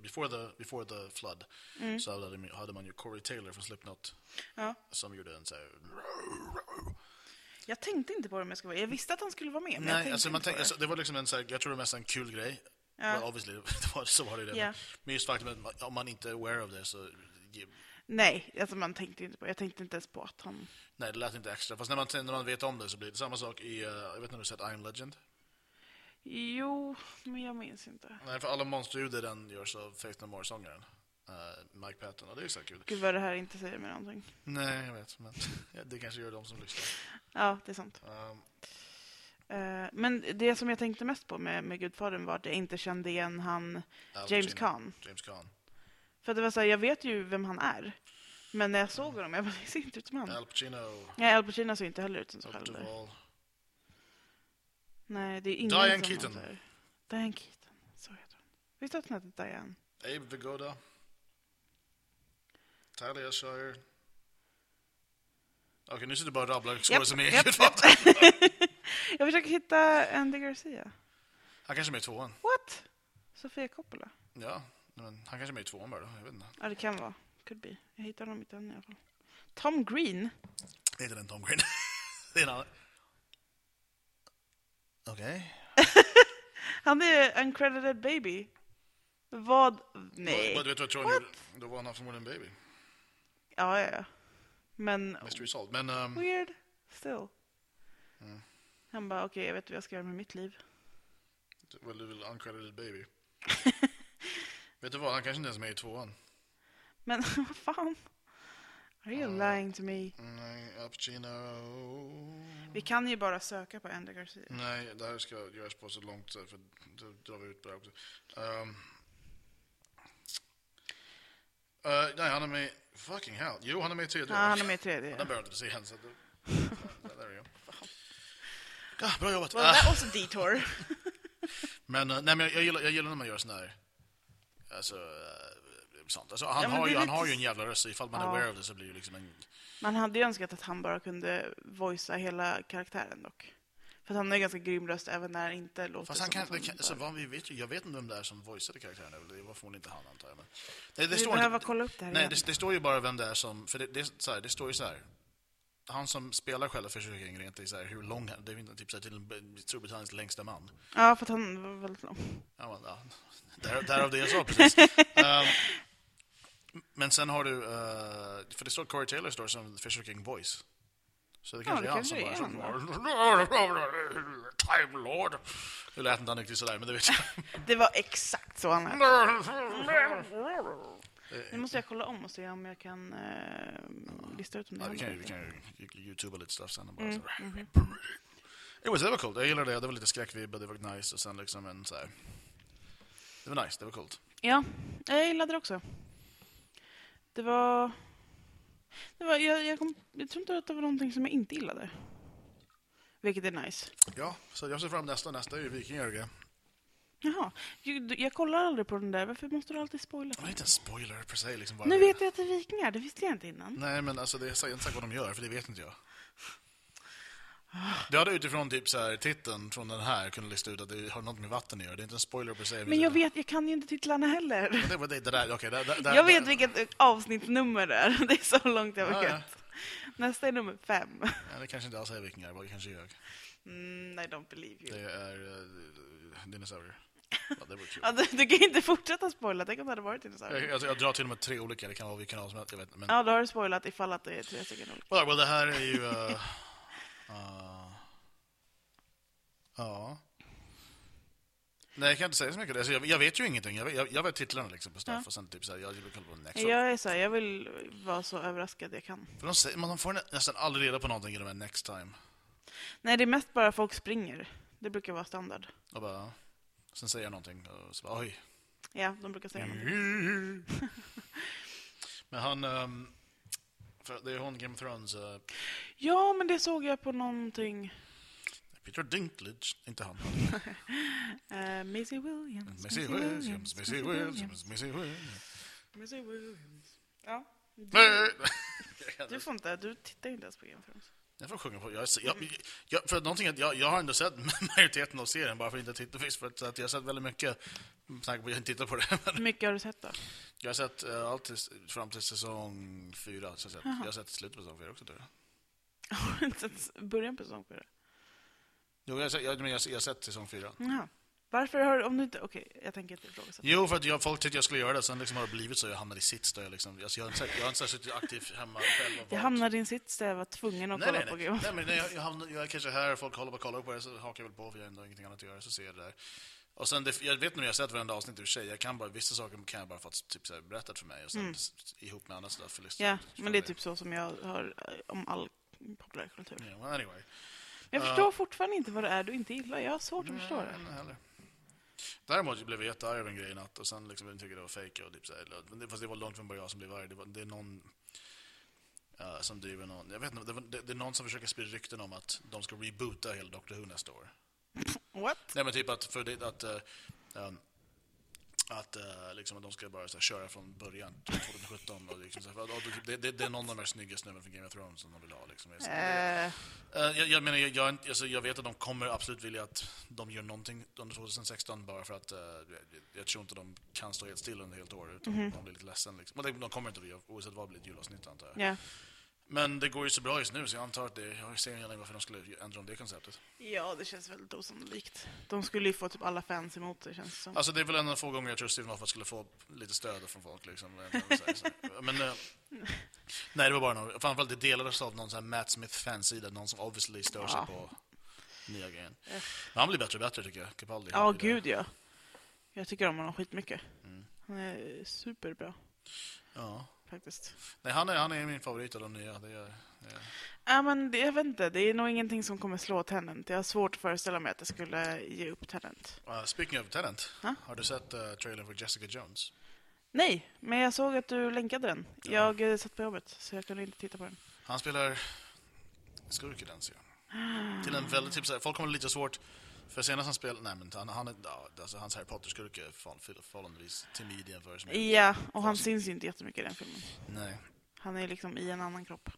Speaker 3: before the, before the flood,
Speaker 2: Mm.
Speaker 3: så hade, man- hade man ju Corey Taylor från Slipknot
Speaker 2: Ja.
Speaker 3: som gjorde en så här...
Speaker 2: Jag tänkte inte på det om jag ska vara Jag visste att han skulle vara med, men jag
Speaker 3: Nej,
Speaker 2: tänkte
Speaker 3: alltså, man
Speaker 2: inte på
Speaker 3: tänk,
Speaker 2: det.
Speaker 3: alltså, det var liksom en så här, jag tror det var mest en kul grej.
Speaker 2: Ja.
Speaker 3: Well, obviously, det var, så var det ju det.
Speaker 2: Ja.
Speaker 3: Men just faktum att om man inte är aware of det så...
Speaker 2: Nej, alltså man tänkte inte på Jag tänkte inte ens på att han...
Speaker 3: Nej, det lät inte extra. Fast när man, när man vet om det så blir det samma sak i... eh, jag vet inte om du har sett I'm Legend?
Speaker 2: Jo, men jag minns inte.
Speaker 3: Nej, för alla monsterljud i den görs av Faith No More-sångaren. eh, Mike Patton, och det är ju så här kul.
Speaker 2: Gud vad det här inte säger mig någonting.
Speaker 3: Nej, jag vet, men ja, det kanske gör de som lyssnar.
Speaker 2: Ja, det är sant.
Speaker 3: Ehm,
Speaker 2: Eh, men det som jag tänkte mest på med, med Gudfadern var att jag inte kände igen han
Speaker 3: Al
Speaker 2: James
Speaker 3: Pacino.
Speaker 2: Caan.
Speaker 3: James Caan.
Speaker 2: För att det var så här, jag vet ju vem han är. Men när jag såg honom, jag bara, det ser inte ut som han.
Speaker 3: Mm. Al Pacino,
Speaker 2: Nej, Al Pacino ser inte heller ut som sig
Speaker 3: Robert
Speaker 2: själv. där.
Speaker 3: Duvall.
Speaker 2: Nej, det är ingen
Speaker 3: Diane
Speaker 2: som
Speaker 3: Keaton.
Speaker 2: heter- Diane Keaton, så heter hon. Visst att hon hette Diane?
Speaker 3: Abe Vigoda. Talia Shire. Okej, nu sitter du bara och rabblar skådespelare som är
Speaker 2: japp,
Speaker 3: Gudfadern.
Speaker 2: Jag försöker hitta Andy Garcia.
Speaker 3: Han kanske är med i tvåan.
Speaker 2: What? Sofia Coppola?
Speaker 3: Ja, men han kanske är med i tvåan bara då. Jag vet inte.
Speaker 2: Ja, det kan vara. Could be. Jag hittar honom inte än i alla fall. Tom Green?
Speaker 3: Det är inte den Tom Green. det är en annan. Okej.
Speaker 2: Han är uncredited baby Vad?
Speaker 3: Vad-
Speaker 2: Nej.
Speaker 3: Du vet vad jag tror han gjorde? Då var han haft more than baby.
Speaker 2: Ja, ja, ja. Men
Speaker 3: Mystery solved. Men ehm,
Speaker 2: weird still.
Speaker 3: Mm.
Speaker 2: Han bara, okej, jag vet vad jag ska göra med mitt liv.
Speaker 3: well, du vill uncredited baby. vet du vad, han kanske inte ens är med i tvåan.
Speaker 2: Men vad fan? Are you lying to me?
Speaker 3: Mm, Nej, Al Pacino.
Speaker 2: Vi kan ju bara söka på Andy Garcia.
Speaker 3: Nej, det här ska göras på så långt så här, för då drar vi ut på det här också. Ehm. Eh, nej, han är med Fucking hell. Jo, han är med i tredje.
Speaker 2: Ja, han är med i tredje.
Speaker 3: Den behöver jag inte se än. Så att, Ja, där är jag. Ja, bra jobbat.
Speaker 2: Well,
Speaker 3: Ah.
Speaker 2: that was a detour.
Speaker 3: Men, eh, nej, men jag, jag, gillar, jag gillar när man gör sån här... Alltså, eh, sånt. Alltså, han,
Speaker 2: Ja, men
Speaker 3: har
Speaker 2: det
Speaker 3: ju,
Speaker 2: är
Speaker 3: han
Speaker 2: lite
Speaker 3: har ju
Speaker 2: s-
Speaker 3: en jävla röst, så ifall man är
Speaker 2: Ja.
Speaker 3: aware of det så blir det liksom en...
Speaker 2: Man hade ju önskat att han bara kunde voicea hela karaktären dock. För att han har ju ganska grym röst även när han inte låter
Speaker 3: Fast han
Speaker 2: som
Speaker 3: kan,
Speaker 2: att
Speaker 3: det kan, alltså,
Speaker 2: bara-
Speaker 3: vad vi vet ju, jag vet inte vem det är som voicade karaktären, eller det var förmodligen inte han antar jag. Men, det, det
Speaker 2: Vi
Speaker 3: står
Speaker 2: behöver
Speaker 3: inte,
Speaker 2: kolla upp det här
Speaker 3: Nej,
Speaker 2: igen.
Speaker 3: det, det står ju bara vem det är som... För det, det, är så här, det står ju så här. Han som spelar själva försäkringen rent i så här, hur lång han... Det är ju inte typ så här, till Storbritanniens längsta man.
Speaker 2: Ja, för att han var väldigt lång.
Speaker 3: Ja, men, ja. Där, därav det jag sa precis. Ehm, men sen har du, eh, för det står Corey Taylor står som Fisher King Voice. Så det kanske
Speaker 2: det
Speaker 3: är han
Speaker 2: kanske
Speaker 3: som
Speaker 2: det
Speaker 3: bara...
Speaker 2: är
Speaker 3: så- Time Lord! Nu lät inte han riktigt sådär, men det vet jag.
Speaker 2: Det var exakt så han lät.
Speaker 3: Eh,
Speaker 2: Nu måste jag kolla om och se om jag kan eh, lista ut om det
Speaker 3: Ja, vi kan
Speaker 2: händer
Speaker 3: ju, vi
Speaker 2: någonting.
Speaker 3: kan ju youtuba lite stuff sen och bara
Speaker 2: Mm,
Speaker 3: så här.
Speaker 2: mhm.
Speaker 3: Anyways, det var coolt. Jag gillade det. Det var lite skräckvibbar, det var nice och sen liksom en så här. Det var nice, det var coolt.
Speaker 2: Ja, jag gillade det också. Det var... Det var jag, jag, kom, jag tror inte att det var någonting som jag inte gillade. Vilket är nice.
Speaker 3: Ja, så jag ser fram nästa. Nästa är ju Vikingar och grejer.
Speaker 2: Jaha, jag, jag kollar aldrig på den där. Varför måste du alltid spoila?
Speaker 3: Det var inte en spoiler per se. Liksom bara
Speaker 2: Nu vet jag att det är vikingar, det visste jag inte innan.
Speaker 3: Nej, men alltså, det är jag har inte sagt vad de gör, för det vet inte jag. Det hade utifrån typ så här, titeln från den här kunnat lista ut att det har något med vatten att göra. Det är inte en spoiler per se.
Speaker 2: Men jag vet, jag kan ju inte titlarna heller.
Speaker 3: Men Det var det, det där, okej. där- där- där-
Speaker 2: Jag vet
Speaker 3: där-
Speaker 2: vilket eh, avsnittsnummer det är. Det är så långt jag
Speaker 3: Ja,
Speaker 2: vet.
Speaker 3: ja.
Speaker 2: Nästa är nummer fem.
Speaker 3: Ja, det kanske inte alls är vikingar, vad det kanske jag.
Speaker 2: Mm, I don't believe you.
Speaker 3: Det är uh, dinosaurier. Ja, det var kul.
Speaker 2: Ja, du, du kan ju inte fortsätta spoila, tänk om det hade varit
Speaker 3: Jag,
Speaker 2: dinosaurier.
Speaker 3: jag, jag drar till och med tre olika, det kan vara vilken av som helst, jag vet inte. Men,
Speaker 2: Ja, då har du spoilat ifall att det är tre stycken olika.
Speaker 3: well, well, det här är ju... eh, eh, ja. Nej, jag kan inte säga så mycket. Alltså, jag, jag vet ju ingenting. Jag vet, jag, jag vet titlarna liksom på stuff
Speaker 2: Ja.
Speaker 3: och sen typ såhär, jag vill kolla på next.
Speaker 2: Jag är så här, jag vill vara så överraskad jag kan.
Speaker 3: För de säger, man får nä- nästan aldrig reda på någonting genom en next time.
Speaker 2: Nej, det är mest bara folk springer. Det brukar vara standard.
Speaker 3: Och bara, sen säger jag någonting och så bara, oj.
Speaker 2: Ja, de brukar säga
Speaker 3: Mm.
Speaker 2: någonting.
Speaker 3: Men han... ehm, för det är hon, Game of Thrones. eh,
Speaker 2: Ja, men det såg jag på någonting.
Speaker 3: Peter Dinklage, inte han.
Speaker 2: Eh, Maisie Williams.
Speaker 3: Missy Williams, Missy Williams, Missy Williams.
Speaker 2: Missy Williams. Ja.
Speaker 3: Nej!
Speaker 2: Du får inte, du tittar ju inte ens på Game of Thrones.
Speaker 3: Jag får sjunga på. Jag, jag, jag, för att någonting, att jag, jag har ändå sett majoriteten av serien bara för att inte titta för att, så att jag har sett väldigt mycket. Med tanke på att jag inte tittar på det. Men
Speaker 2: Hur mycket har du sett då?
Speaker 3: jag har sett eh, allt tills, fram till säsong fyra. Så jag, har sett, jag har sett slutet på säsong fyra också tror jag.
Speaker 2: Har du inte sett början på säsong fyra?
Speaker 3: Jo, jag, har sett- jag, men jag, jag har sett säsong fyra.
Speaker 2: Jaha. Varför har du, om du inte, okej, jag tänker inte ifrågasätta.
Speaker 3: Jo, för att jag, folk tyckte jag skulle göra det, sen liksom har det blivit så. Jag hamnade i sits där jag liksom... Alltså, jag har inte sett- jag har inte suttit aktivt hemma själv och
Speaker 2: Jag
Speaker 3: valt.
Speaker 2: hamnade i en sits där jag var tvungen att
Speaker 3: Nej,
Speaker 2: kolla
Speaker 3: nej,
Speaker 2: på
Speaker 3: nej.
Speaker 2: Game of
Speaker 3: nej, men nej, jag, jag, hamnar, jag är kanske här, folk håller på och kollar på det, så hakar jag väl på, för jag har ändå ingenting annat att göra, så ser jag det där. Och sen, det, jag vet nu, jag har sett varenda avsnitt i och för sig, jag kan bara, vissa saker kan jag bara få typ, så här, berättat för mig, och sen s- ihop med annat stuff. för liksom-
Speaker 2: Mm. Ja, men det är
Speaker 3: för-
Speaker 2: typ så som jag hör eh, om all populärkultur. Men
Speaker 3: Ja, well, anyway.
Speaker 2: jag förstår fortfarande inte vad det är du inte gillar. Jag har svårt att förstå
Speaker 3: Nej,
Speaker 2: det.
Speaker 3: inte heller. Däremot blev jag jättearg över en grej i natt och sen liksom jag tyckte jag det var fejk och typ så här, men det- fast det var långt från bara jag som blev arg. Det, var, det är någon eh, som driver någon, jag vet inte, det, var, det, det är någon som försöker sprida rykten om att de ska reboota hela Doctor Who nästa år.
Speaker 2: What?
Speaker 3: Nej men typ att, för det, att, eh, ehm, att eh, liksom att de ska bara så här, köra från början, typ 2017 och liksom så här, för att- och det, det, det är någon av de här snygga snubben från Game of Thrones som de vill ha liksom. Jag är så här,
Speaker 2: Eh,
Speaker 3: Eh, Jag, jag menar, jag, jag, är inte- alltså, jag vet att de kommer absolut vilja att de gör någonting under 2016 bara för att eh, jag, jag tror inte de kan stå
Speaker 2: Mhm.
Speaker 3: helt still under ett helt år utan de blir lite ledsen. Liksom. Och de, de kommer inte att göra, oavsett vad blir det ett julavsnitt antar jag.
Speaker 2: ja.
Speaker 3: Men det går ju så bra just nu, så jag antar att det... Jag ser inte varför de skulle ändra om det konceptet.
Speaker 2: Ja, det känns väldigt osannolikt. De skulle ju få typ alla fans emot sig, känns det som.
Speaker 3: Alltså, det är väl en av de få gånger jag tror Stephen Moffat skulle få lite stöd från folk. Liksom. Jag vet inte vad jag säger. Men, eh, nej, det var bara någon... Framförallt det delades av någon sån här Matt Smith-fansida, någon som obviously stör sig
Speaker 2: Ja.
Speaker 3: på nya grejen. Men han blir bättre och bättre, tycker jag. Capaldi.
Speaker 2: Ja, gud ja. Jag tycker om honom skitmycket.
Speaker 3: Mm.
Speaker 2: Han är superbra,
Speaker 3: Ja.
Speaker 2: faktiskt.
Speaker 3: Nej, han är, han är min favorit av de nya. Det är, det är.
Speaker 2: Ja, men det, jag vet inte, det är nog ingenting som kommer slå Tenant. Jag har svårt att föreställa mig att jag skulle ge upp Tenant.
Speaker 3: Uh, speaking of Tenant,
Speaker 2: Ja?
Speaker 3: har du sett eh, trailern för Jessica Jones?
Speaker 2: Nej, men jag såg att du länkade den. Jag eh, satt på jobbet, så jag kunde inte titta på den.
Speaker 3: Han spelar skurk i den serien. Till en väldigt, typ, såhär, folk kommer lite svårt, för senast han spelade, nej men han, han är, ja, alltså, hans Harry Potter-skurk är fan, för- förhållandevis timid i jämförelse med...
Speaker 2: Ja, och han syns ju inte jättemycket i den filmen.
Speaker 3: Nej.
Speaker 2: Han är liksom i en annan kropp.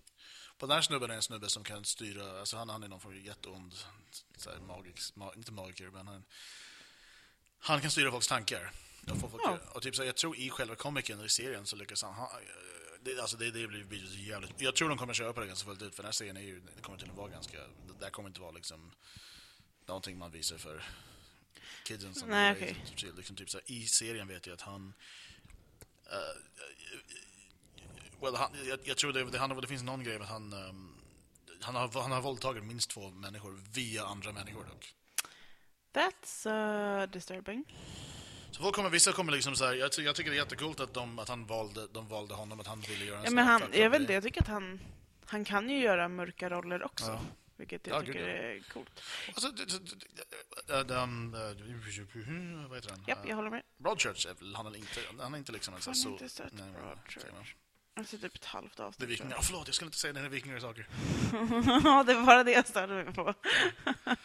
Speaker 3: På den här snubben är en snubbe som kan styra, alltså han, han är någon form av jätteond, såhär, magisk, ma, inte magiker, men han, han kan styra folks tankar. Och, få folk,
Speaker 2: Ja.
Speaker 3: och typ såhär, jag tror i själva komikern i serien så lyckas han, han eh, det, alltså det, det blir blir så jävligt, jag tror de kommer köra på det ganska fullt ut för den här serien är ju, det kommer till att vara ganska, det där kommer inte vara liksom någonting man visar för kidsen som
Speaker 2: Nej,
Speaker 3: gillar
Speaker 2: okej.
Speaker 3: Agents of S.H.I.E.L.. liksom, typ såhär, I serien vet jag att han eh, Well, han, jag, jag tror det, det, han, det finns någon grej med att han, ehm, han, har, han har våldtagit minst två människor via andra människor dock.
Speaker 2: That's uh, disturbing.
Speaker 3: Så folk kommer, vissa kommer liksom så här, jag, ty- jag tycker det är jättekult att, de, att han valde, de valde honom, att han ville göra en
Speaker 2: Ja,
Speaker 3: sån
Speaker 2: men
Speaker 3: här
Speaker 2: han,
Speaker 3: fucked up
Speaker 2: jag vet
Speaker 3: grej.
Speaker 2: inte, jag tycker att han, han kan ju göra mörka roller också.
Speaker 3: Ja.
Speaker 2: Vilket jag
Speaker 3: Ja,
Speaker 2: tycker
Speaker 3: gud, ja.
Speaker 2: är coolt.
Speaker 3: Alltså, det- det- det- det- ehm, eh, vad heter han?
Speaker 2: Japp, jag
Speaker 3: Eh,
Speaker 2: håller med.
Speaker 3: Broadchurch, är väl- han är inte, han är inte liksom en sån
Speaker 2: Fan,
Speaker 3: här
Speaker 2: jag har
Speaker 3: sol-
Speaker 2: inte sett
Speaker 3: nej, men,
Speaker 2: Broadchurch.
Speaker 3: säger man.
Speaker 2: Jag har sett typ ett halvt
Speaker 3: Det är
Speaker 2: avsnitt. tror
Speaker 3: vikingar, oh, förlåt jag skulle inte säga det, det är vikingar och saker.
Speaker 2: jag. Ja, det var bara det jag störde mig på. jag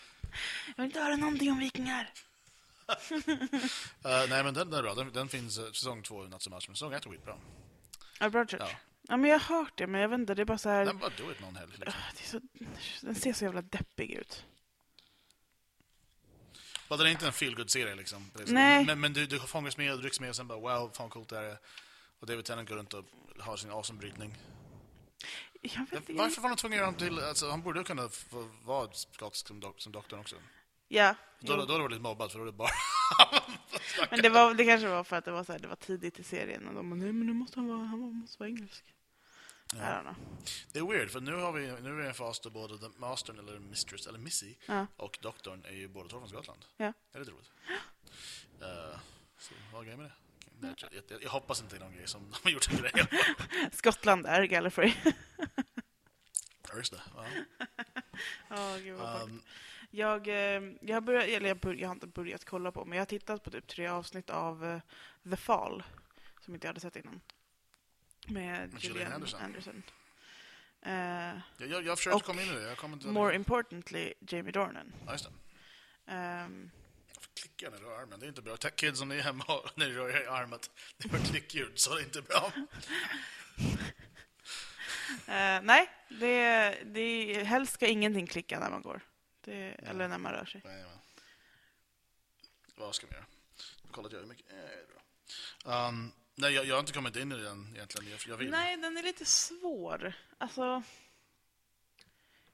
Speaker 2: vill inte höra någonting om vikingar.
Speaker 3: Eh, nej men den, den är bra, den, den finns eh, säsong två i Not So Much, men säsong ett är skitbra.
Speaker 2: Ja, Broadchurch.
Speaker 3: Ja.
Speaker 2: Ja. men jag har hört det, men jag vet inte, det är bara så här...
Speaker 3: Den bara do it någon helg. Liksom.
Speaker 2: Ah, Det är så, den ser så jävla deppig ut.
Speaker 3: Bara den är inte en feelgood-serie liksom. Det är så-
Speaker 2: Nej.
Speaker 3: Men, men du, du fångas med, du rycks med och sen bara wow, fan coolt det här är. Och David Tennant går runt och har sin awesome-brytning.
Speaker 2: Jag vet inte.
Speaker 3: Varför var de tvungna att göra honom till, alltså han borde kunna få vara skotsk som, dok- som doktorn också.
Speaker 2: Ja.
Speaker 3: Då,
Speaker 2: jo.
Speaker 3: då, då var det lite mobbad för då var det bara
Speaker 2: Men det, var, det kanske var för att det var, så här, det var tidigt i serien och de bara, nej men nu måste han vara, han måste vara engelsk. I don't know.
Speaker 3: Det är weird, för nu har vi, nu är vi i en fas då både the mastern eller mistress, eller missy,
Speaker 2: Ja.
Speaker 3: och doktorn är ju båda två från Skottland.
Speaker 2: Ja.
Speaker 3: Det är lite roligt. Eh, så vad är grejen med det? Nej, jag, jag, jag hoppas inte det är någon grej som de har gjort en grej av.
Speaker 2: Skottland är Gallifrey.
Speaker 3: Ja, just det. Ja.
Speaker 2: Ja, gud vad
Speaker 3: Ehm,
Speaker 2: um, jag, eh, jag, börjar, eller jag, bör, jag har inte börjat kolla på, men jag har tittat på typ tre avsnitt av eh, The Fall, som inte jag hade sett innan. Med
Speaker 3: Gillian
Speaker 2: Gillian
Speaker 3: Anderson.
Speaker 2: Anderson. Eh,
Speaker 3: jag, jag, jag försökte
Speaker 2: Och
Speaker 3: komma in i det, jag kom inte...
Speaker 2: more importantly, Jamie Dornan.
Speaker 3: Ja, just det.
Speaker 2: Ehm,
Speaker 3: Klicka när du rör armen, det är inte bra. Ta- Kids, om ni är hemma och när ni rör er i armen, det var klickljud, så det är inte bra.
Speaker 2: eh, nej, det, det, helst ska ingenting klicka när man går. Det, Eller när man rör sig.
Speaker 3: Nej, men. Vad ska vi göra? Kolla att jag är mycket... Eh, det är bra. Um, nej, jag, jag har inte kommit in i den egentligen. Jag, jag vill.
Speaker 2: Nej, den är lite svår. Alltså...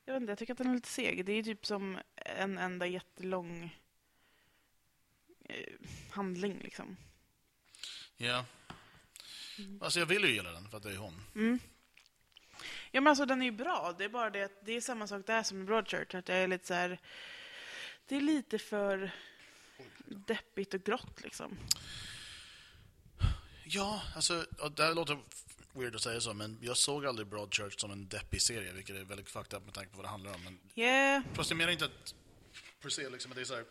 Speaker 2: Jag vet inte, jag tycker att den är lite seg. Det är ju typ som en enda jättelång eh, handling liksom.
Speaker 3: Ja. Alltså, jag vill ju gilla den, för att det är hon.
Speaker 2: Ja men alltså den är ju bra, det är bara det att det är samma sak där som med Broadchurch, att jag är lite så här. Det är lite för deppigt och grått liksom.
Speaker 3: Ja, alltså, och det här låter weird att säga så, men jag såg aldrig Broadchurch som en deppig serie, vilket är väldigt fucked up med tanke på vad det handlar om. Men
Speaker 2: Yeah.
Speaker 3: Fast jag menar inte att per se liksom att det är så här.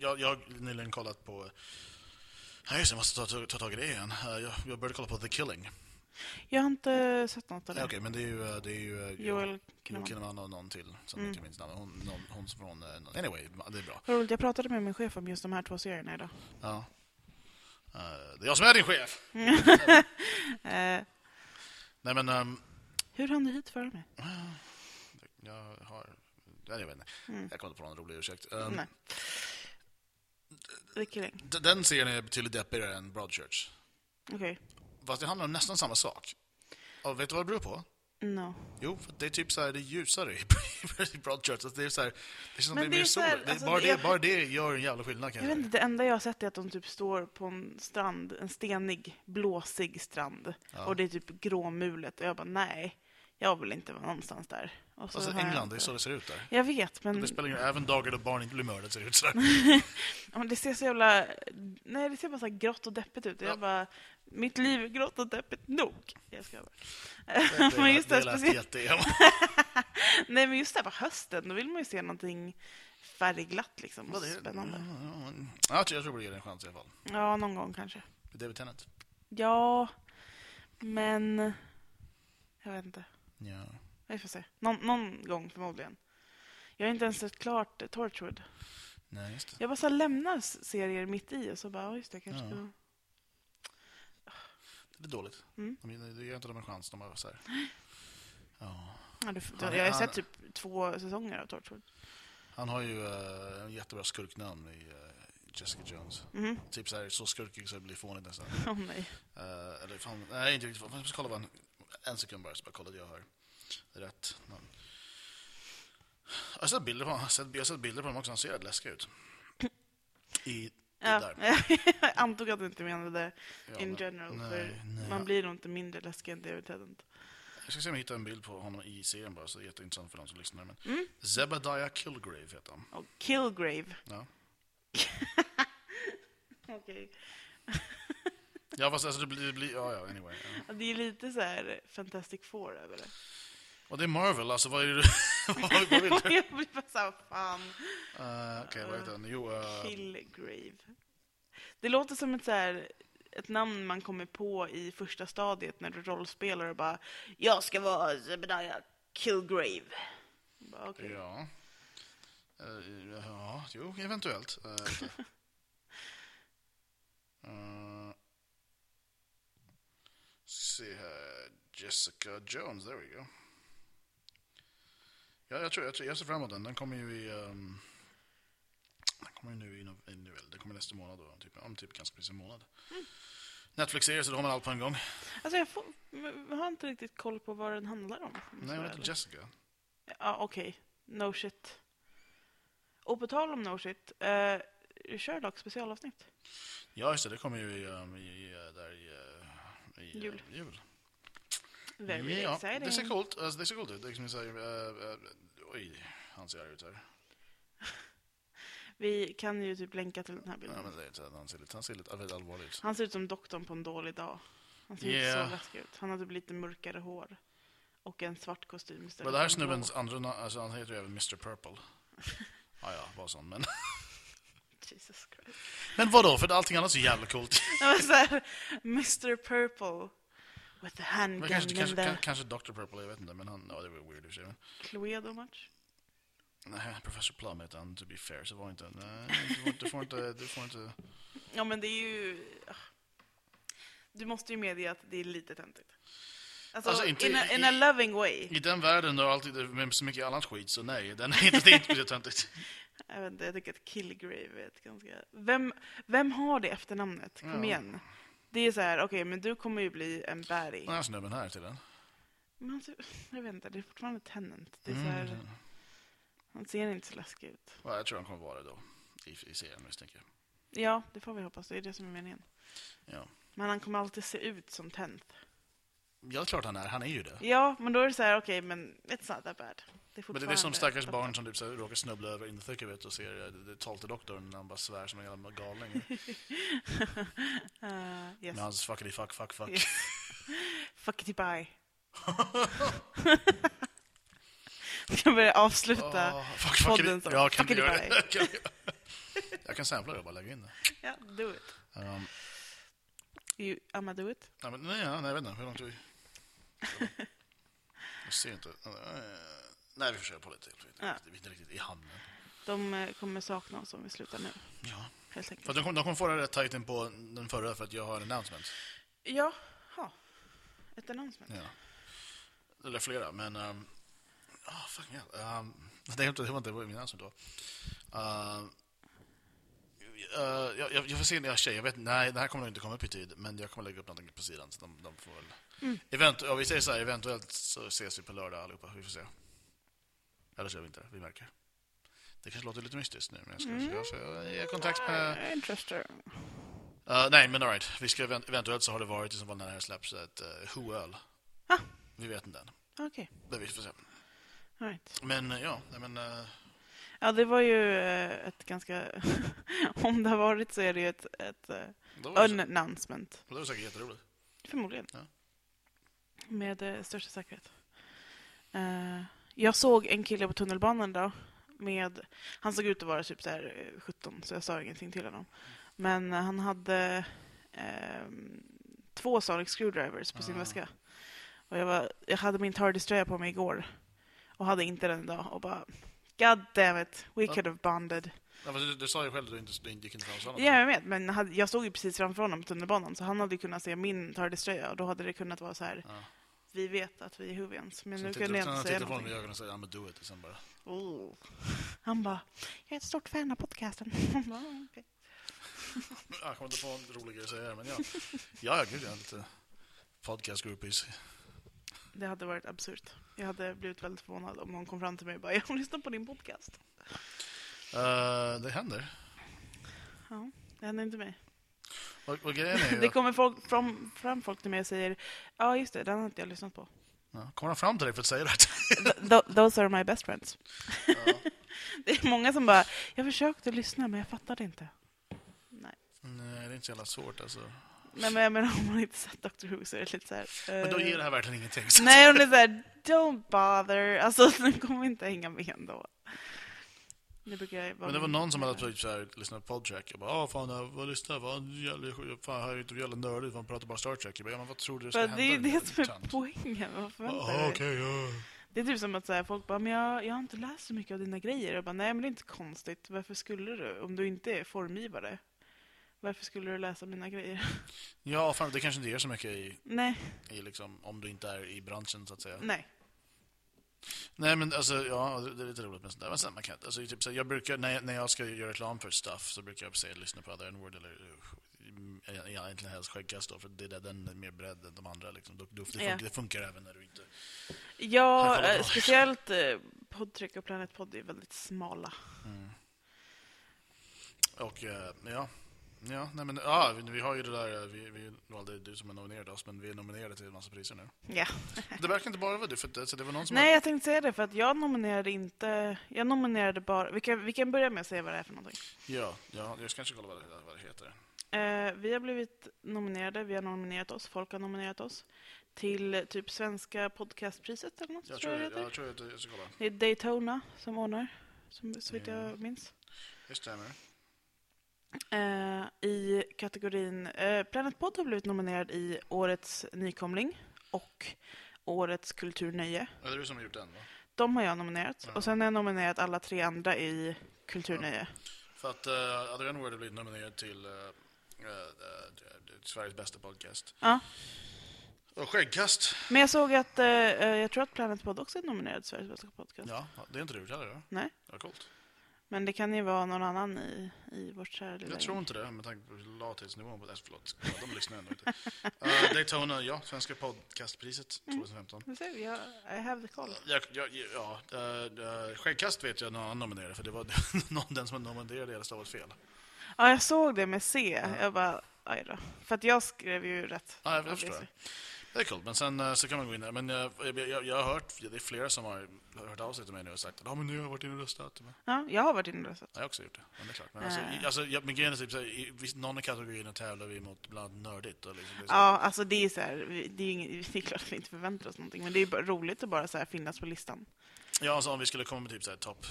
Speaker 3: Jag, jag har nyligen kollat på... Nej, just det, jag måste ta, ta, ta tag i det igen. Eh, Jag, jag började kolla på The Killing.
Speaker 2: Jag har inte sett något av
Speaker 3: Nej, Okej,
Speaker 2: det.
Speaker 3: men det är ju... eh, Det är ju eh,
Speaker 2: Joel
Speaker 3: Joel
Speaker 2: Kinnaman. Mm.
Speaker 3: Kinnaman och någon till som jag inte minns namnet. Hon, någon, hon som från... eh, någon- Anyway, det är bra.
Speaker 2: Vad roligt, jag pratade med min chef om just de här två serierna idag.
Speaker 3: Ja. Eh, Det är jag som är din chef!
Speaker 2: Mm. Eh,
Speaker 3: Nej, men... ehm,
Speaker 2: hur hann du hit före mig?
Speaker 3: jag har... Nej, jag vet inte. Jag kommer inte på någon rolig ursäkt. Ehm,
Speaker 2: Mm. Nej. The Killing.
Speaker 3: d- Den serien är betydligt deppigare än Broadchurch.
Speaker 2: Okej.
Speaker 3: Fast det handlar om nästan samma sak. Och vet du vad det beror på?
Speaker 2: No.
Speaker 3: Jo, för det är typ så här, det är ljusare i i broadchurch. Alltså det är så här, det känns som
Speaker 2: Men
Speaker 3: det är
Speaker 2: det är
Speaker 3: mer
Speaker 2: så
Speaker 3: sol.
Speaker 2: här,
Speaker 3: Det är
Speaker 2: alltså
Speaker 3: bara,
Speaker 2: det-
Speaker 3: det, bara det gör en jävla skillnad
Speaker 2: Jag
Speaker 3: kan jag,
Speaker 2: vet
Speaker 3: säga.
Speaker 2: inte, det enda jag har sett är att de typ står på en strand, en stenig, blåsig strand. Och det är typ gråmulet. Och jag bara, nej, jag vill inte vara någonstans där. Och så
Speaker 3: Alltså
Speaker 2: har jag
Speaker 3: England,
Speaker 2: inte-
Speaker 3: det är så det ser ut där.
Speaker 2: Jag vet, men
Speaker 3: Det
Speaker 2: det,
Speaker 3: spelar ingen roll, även dagar då barn inte blir mördade ser det ut så här.
Speaker 2: det ser så jävla... Nej, det ser bara så här grått och deppigt ut. Och
Speaker 3: Ja.
Speaker 2: Jag bara, mitt liv är grått och deppigt nog. Jag ska bara.
Speaker 3: Det,
Speaker 2: Men just det,
Speaker 3: lät
Speaker 2: speciellt-
Speaker 3: jätte-
Speaker 2: Nej, men just det här på hösten, då vill man ju se någonting färgglatt liksom. Och
Speaker 3: Vad är det?
Speaker 2: spännande.
Speaker 3: Ja, Jag tror jag tror det ger en chans i alla fall.
Speaker 2: Ja, någon gång kanske.
Speaker 3: David Tennant.
Speaker 2: Ja, men... Jag vet inte.
Speaker 3: Ja.
Speaker 2: Vi får se. Någon, någon gång förmodligen. Jag har inte ens sett klart eh, Torchwood.
Speaker 3: Nej, just det.
Speaker 2: Jag bara så här lämnar s- serier mitt i och så bara, ja just det, kanske
Speaker 3: Ja.
Speaker 2: ska...
Speaker 3: Det är dåligt.
Speaker 2: Mm.
Speaker 3: De, det ger inte dem en chans. De bara så här. Ja.
Speaker 2: Ja, du, får-
Speaker 3: Ja,
Speaker 2: jag har
Speaker 3: han-
Speaker 2: sett typ två säsonger av Torchwood.
Speaker 3: Han har ju eh, en jättebra skurknamn i eh, Jessica Jones.
Speaker 2: Mhm.
Speaker 3: Typ så här, så skurkig så det blir fånigt nästan.
Speaker 2: Åh nej.
Speaker 3: Eh, eller fan, nej inte riktigt. Jag ska kolla vad han, en sekund bara, så bara kolla att jag har rätt namn. Jag har sett bilder på honom, jag har sett, jag har sett bilder på honom också, han ser jävligt läskig ut. I, i
Speaker 2: Ja,
Speaker 3: där.
Speaker 2: jag antog att du inte menade
Speaker 3: Ja,
Speaker 2: in
Speaker 3: men-
Speaker 2: general,
Speaker 3: nej,
Speaker 2: för
Speaker 3: nej.
Speaker 2: man blir nog inte mindre läskig än David Tennant.
Speaker 3: Jag ska se om jag hittar en bild på honom i serien bara, så det är jätteintressant för de som lyssnar. Men
Speaker 2: Mm.
Speaker 3: Zebadiah Kilgrave heter han.
Speaker 2: Och Killgrave.
Speaker 3: Ja.
Speaker 2: Okej.
Speaker 3: Ja, fast alltså det blir, det blir ja, ja, anyway. Ja.
Speaker 2: Ja, Det är lite så här Fantastic Four över det.
Speaker 3: Och det är Marvel, alltså vad är det vad, vad vill du?
Speaker 2: Och jag blir bara såhär, fan.
Speaker 3: Eh, Okej, vad heter han? Jo, eh,
Speaker 2: Killgrave. Det låter som ett, så här, ett namn man kommer på i första stadiet när du rollspelar och bara Jag ska vara Zebediah Killgrave. Bara, okej.
Speaker 3: ja. Eh, ja, jo, eventuellt. Eh, vänta. Eh, ska se här. Jessica Jones, there we go. Ja, jag tror, jag tror jag ser fram emot den. Den kommer ju i... ehm, den kommer ju nu i, nov- i nu, eller den kommer nästa månad då, om typ, om typ ganska precis en månad.
Speaker 2: Mm.
Speaker 3: Netflix-serie, så då har man allt på en gång.
Speaker 2: Alltså jag, får, jag har inte riktigt koll på vad den handlar om. om jag ska
Speaker 3: Nej, hon
Speaker 2: vara
Speaker 3: heter
Speaker 2: ärlig.
Speaker 3: Jessica.
Speaker 2: Ja, okej. No shit. Och på tal om no shit, eh, Sherlock specialavsnitt.
Speaker 3: Ja, just det. Det kommer ju i, ehm, i, eh, där i, eh, i eh,
Speaker 2: Jul.
Speaker 3: jul.
Speaker 2: Very
Speaker 3: ja,
Speaker 2: exciting.
Speaker 3: det ser coolt alltså, det ser coolt ut. Det är liksom så här, eh, eh, oj, han ser arg ut här.
Speaker 2: Vi kan ju typ länka till den här
Speaker 3: Ja,
Speaker 2: bilden.
Speaker 3: men det är, inte så här, han ser lite, han ser lite väldigt allvarlig ut.
Speaker 2: Han ser ut som doktorn på en dålig dag. Han ser inte
Speaker 3: Yeah.
Speaker 2: så läskig ut. Han har typ lite mörkare hår. Och en svart kostym istället
Speaker 3: Men det här
Speaker 2: för en
Speaker 3: snubbens andra namn, alltså, han heter ju även Mr Purple. Ja, ja, bara sån. Men,
Speaker 2: blå. Jesus Christ.
Speaker 3: men vadå, för allting annat är så jävla coolt.
Speaker 2: Jag var såhär, Mr Purple. With the handgun
Speaker 3: Men kanske,
Speaker 2: in
Speaker 3: kanske,
Speaker 2: the
Speaker 3: kanske, kanske Dr Purple, jag vet inte. Men han, ja, det var weird i och för sig. men-
Speaker 2: Cluedo match.
Speaker 3: Nej, Professor Plum heter han, to be fair, så var inte, nej, du får inte, du får inte, du får inte
Speaker 2: Ja men det är ju... ah. Du måste ju medge att det är lite töntigt. Alltså,
Speaker 3: Alltså, inte
Speaker 2: in, a,
Speaker 3: i-
Speaker 2: in a loving way.
Speaker 3: I den världen då alltid med så mycket annat skit, så nej, den är inte, det är inte speciellt töntigt.
Speaker 2: Jag, vet inte, jag tycker att Killgrave är ett ganska... Vem, vem har det efternamnet? Kom
Speaker 3: Ja.
Speaker 2: igen. Det är så här, okej men du kommer ju bli en baddie.
Speaker 3: Den här snubben här till den.
Speaker 2: Men alltså, jag vet inte, det är fortfarande Tennant. Det är så
Speaker 3: Mm.
Speaker 2: här, han ser inte så läskig ut.
Speaker 3: Ja, jag tror han kommer vara det då, i, i serien misstänker jag.
Speaker 2: Ja, det får vi hoppas. Det är det som är meningen.
Speaker 3: Ja.
Speaker 2: Men han kommer alltid se ut som Tennant.
Speaker 3: Ja, det är klart han är. Han är ju det.
Speaker 2: Ja, men då är det så här, okej, men it's not that bad. Det är
Speaker 3: Men det är som
Speaker 2: fortfarande
Speaker 3: stackars
Speaker 2: doktorn.
Speaker 3: barn som typ så här, råkar snubbla över in the thick of it och ser eh, det- det tal till doktorn när han bara svär som en jävla galning.
Speaker 2: Eh, yes.
Speaker 3: Med hans fuckity fuck fuck fuck.
Speaker 2: yes. Fuck it, bye. jag börjar avsluta.
Speaker 3: Ah, fuck fuckity.
Speaker 2: podden som
Speaker 3: Ja, kan du
Speaker 2: fuckity
Speaker 3: göra
Speaker 2: bye.
Speaker 3: det? Jag kan göra det. Jag kan sampla det och bara lägga in det.
Speaker 2: Ja, do it.
Speaker 3: Um,
Speaker 2: You, Amma, do it.
Speaker 3: nej, men, nej, nej, jag vet inte. Hur långt är vi? Jag ser inte. Eh, Nej, vi får köra på lite till. Vi är
Speaker 2: Ja.
Speaker 3: inte- vi är inte riktigt i hamnen.
Speaker 2: De eh, kommer sakna oss om vi slutar nu,
Speaker 3: Ja.
Speaker 2: helt
Speaker 3: För
Speaker 2: enkelt.
Speaker 3: de kommer, de kommer få det rätt tajt in på den förra för att jag har en announcement.
Speaker 2: Ja, ha. Ett announcement.
Speaker 3: Ja. Eller flera, men... Um, oh, fucking hell. Um, det, var inte, det var inte min announcement då. Um, eh, jag, jag, jag får se när jag har tjej. Jag vet, nej, det här kommer nog inte komma upp i tid, men jag kommer lägga upp någonting på sidan. Så de, de får väl... Event, ja, vi säger så här, eventuellt så ses vi på lördag allihopa. Vi får se. Eller så gör vi inte det. Vi märker. Det kanske låter lite mystiskt nu, men jag ska jag ska- jag är i kontakt Eh, med...
Speaker 2: Interesting.
Speaker 3: Eh, nej, men alright. Vi ska event- eventuellt så har det varit i så fall när det här släpps ett uh, Who-öl.
Speaker 2: Ah.
Speaker 3: Vi vet inte än.
Speaker 2: Okej.
Speaker 3: Men vi får se.
Speaker 2: All right.
Speaker 3: Men eh, ja, nej, men... eh,
Speaker 2: Ja, det var ju eh, ett ganska... Om det har varit så är det ju ett, ett eh,
Speaker 3: det var, det
Speaker 2: announcement.
Speaker 3: var säkert jätteroligt.
Speaker 2: Förmodligen.
Speaker 3: Ja.
Speaker 2: Med eh, största säkerhet. Eh, jag såg en kille på tunnelbanan då. Med, han såg ut att vara typ så här eh, 17, så jag sa ingenting till honom. Men eh, han hade ehm, två Sonic Screwdrivers på sin
Speaker 3: Ah.
Speaker 2: väska. Och jag, var, jag hade min Tardis-tröja på mig igår och hade inte den idag och bara God damn it, we
Speaker 3: Va?
Speaker 2: could have bonded.
Speaker 3: Ja, fast du, du sa ju själv att du inte, du gick inte fram och sa något.
Speaker 2: Ja, jag vet, men hade, jag stod ju precis framför honom på tunnelbanan så han hade ju kunnat se min Tardis-tröja och då hade det kunnat vara så här
Speaker 3: Ja.
Speaker 2: Vi vet att vi är Huvians, men
Speaker 3: Sen
Speaker 2: nu
Speaker 3: tittar-
Speaker 2: kunde jag
Speaker 3: sen
Speaker 2: inte
Speaker 3: han
Speaker 2: säga
Speaker 3: tittar på honom i
Speaker 2: någonting.
Speaker 3: ögonen och säger I'm gonna do it. Och sen bara...
Speaker 2: Oh. Han bara, jag är ett stort fan av podcasten. Jag bara, "Ah, okej."
Speaker 3: "Ah, Jag kommer inte på en rolig grej att säga här, men ja. Ja, ja, gud, jag är lite podcast groupies.
Speaker 2: Det hade varit absurt. Jag hade blivit väldigt förvånad om någon kom fram till mig och bara, jag lyssnar på din podcast.
Speaker 3: Eh, det händer.
Speaker 2: Ja, det hände inte mig.
Speaker 3: Och, och grejen är ju
Speaker 2: Det
Speaker 3: att,
Speaker 2: kommer folk, fram, fram folk till mig och säger, ja just det, den har inte jag lyssnat på.
Speaker 3: ja, kommer han fram till dig för att säga det här?
Speaker 2: Th- th- those are my best friends. det är många som bara, jag försökte lyssna men jag fattade inte. Nej,
Speaker 3: Nej, det är inte så jävla svårt alltså.
Speaker 2: Nej men jag menar om man inte sett Dr. Who så är det lite så här.
Speaker 3: Men då
Speaker 2: eh,
Speaker 3: ger det här verkligen ingenting. Så.
Speaker 2: Nej, hon är såhär, don't bother. Alltså, nu kommer vi inte hänga med ändå. Nu brukar jag vara
Speaker 3: Men det var
Speaker 2: med.
Speaker 3: någon som hade försökt så här, lyssna på Podtrack. Jag bara, ah fan, jag vad lyssnar vad jävla sjuk- Fan, här är ju inte jävla nördigt, man pratar bara Star Trek. Jag bara, ja, men vad tror du
Speaker 2: För
Speaker 3: ska
Speaker 2: det
Speaker 3: hända?
Speaker 2: är ju
Speaker 3: din
Speaker 2: det som är
Speaker 3: tant?
Speaker 2: poängen. Vad förväntar du
Speaker 3: Ah,
Speaker 2: dig?
Speaker 3: okej, ja.
Speaker 2: Det är typ som att så här, folk bara, men jag, jag har inte läst så mycket av dina grejer. Jag bara, nej men det är inte konstigt. Varför skulle du? Om du inte är formgivare. Varför skulle du läsa mina grejer?
Speaker 3: Ja, fan, det kanske inte ger så mycket i,
Speaker 2: nej,
Speaker 3: i liksom, om du inte är i branschen så att säga.
Speaker 2: nej.
Speaker 3: Nej men alltså, ja, det det är lite roligt med sånt där. Men sen man kan inte, alltså, typ, så, här, jag brukar, när jag, när jag ska göra reklam för stuff så brukar jag säga lyssna på Other N-word eller mm, ja, egentligen helst skäggkast då, för det är där den är mer bredd än de andra liksom. Då- då- Det funkar,
Speaker 2: Ja.
Speaker 3: det funkar även när du inte... Här
Speaker 2: Ja,
Speaker 3: faller
Speaker 2: eh,
Speaker 3: bra.
Speaker 2: speciellt eh, Podtrick och Planet Podd är väldigt smala.
Speaker 3: Mm. Och eh, ja, ja, nej men ja, vi, vi har ju det där, eh, vi, vi valde du som är nominerad oss, men vi är nominerade till en massa priser nu.
Speaker 2: Ja.
Speaker 3: Det verkar inte bara vara du, för det, alltså, det var någon som...
Speaker 2: Nej, jag tänkte säga det för att jag nominerade inte... Jag nominerade bara... Vi kan, vi kan börja med att säga vad det är för någonting.
Speaker 3: Ja, ja, jag ska kanske kolla vad det, vad det heter.
Speaker 2: Eh, vi har blivit nominerade, vi har nominerat oss, folk har nominerat oss till typ Svenska podcastpriset eller något,
Speaker 3: Jag tror,
Speaker 2: tror jag det
Speaker 3: jag,
Speaker 2: heter.
Speaker 3: jag tror att jag ska kolla.
Speaker 2: Det är Daytona som ordnar, som, så vitt
Speaker 3: Mm.
Speaker 2: jag minns.
Speaker 3: Det stämmer.
Speaker 2: Eh, I kategorin... Eh, Planet Pod har blivit nominerad i Årets nykomling och Årets kulturnöje.
Speaker 3: Ja, Det är du som har gjort den, va?
Speaker 2: De har jag nominerat.
Speaker 3: Ja.
Speaker 2: Och sen har jag nominerat alla tre andra i kulturnöje.
Speaker 3: För att uh, Adrian Ward har blivit nominerad till eh, eh, eh, Sveriges bästa podcast.
Speaker 2: Ja.
Speaker 3: Och skäggkast.
Speaker 2: Men jag såg att, eh, eh, jag tror att Planet Pod också är nominerad till Sveriges bästa podcast.
Speaker 3: Ja, det är inte du heller, va?
Speaker 2: Nej.
Speaker 3: Vad coolt.
Speaker 2: Men det kan ju vara någon annan i, i vårt kära lilla
Speaker 3: Jag tror
Speaker 2: gäng.
Speaker 3: inte det, med tanke på lathetsnivån. på- Nej, förlåt. Ja, de lyssnar ändå inte. Eh, Daytona, ja. Svenska podcastpriset
Speaker 2: Mm.
Speaker 3: 2015.
Speaker 2: Nu ser vi, jag, I have the call.
Speaker 3: Jag, jag, ja, eh, eh, skäggkast vet jag någon annan nominerade, för det var någon, den som nominerade hela stavat fel.
Speaker 2: Ja, jag såg det med C. Jag bara, aj då. För att jag skrev ju rätt.
Speaker 3: Ja, jag
Speaker 2: Det är
Speaker 3: förstår
Speaker 2: så.
Speaker 3: det. Det är coolt, men sen eh, så kan man gå in där. Men jag, jag, jag, jag har hört, det är flera som har hört av sig till mig nu och sagt att ah, men nu har jag varit inne och röstat. Men-
Speaker 2: Ja, jag har varit inne och röstat.
Speaker 3: Ja, jag har också gjort det. Men det är klart. Men alltså,
Speaker 2: Äh.
Speaker 3: i, alltså, jag, men grejen är typ så här, i, visst, någon av kategorierna tävlar vi mot bland nördigt. Och liksom, det är så-
Speaker 2: Ja, alltså det är så här, vi- det är, ju inget, det är klart att vi inte förväntar oss någonting, men det är ju bara roligt att bara så här finnas på listan.
Speaker 3: ja, alltså, om vi skulle komma med typ så här topp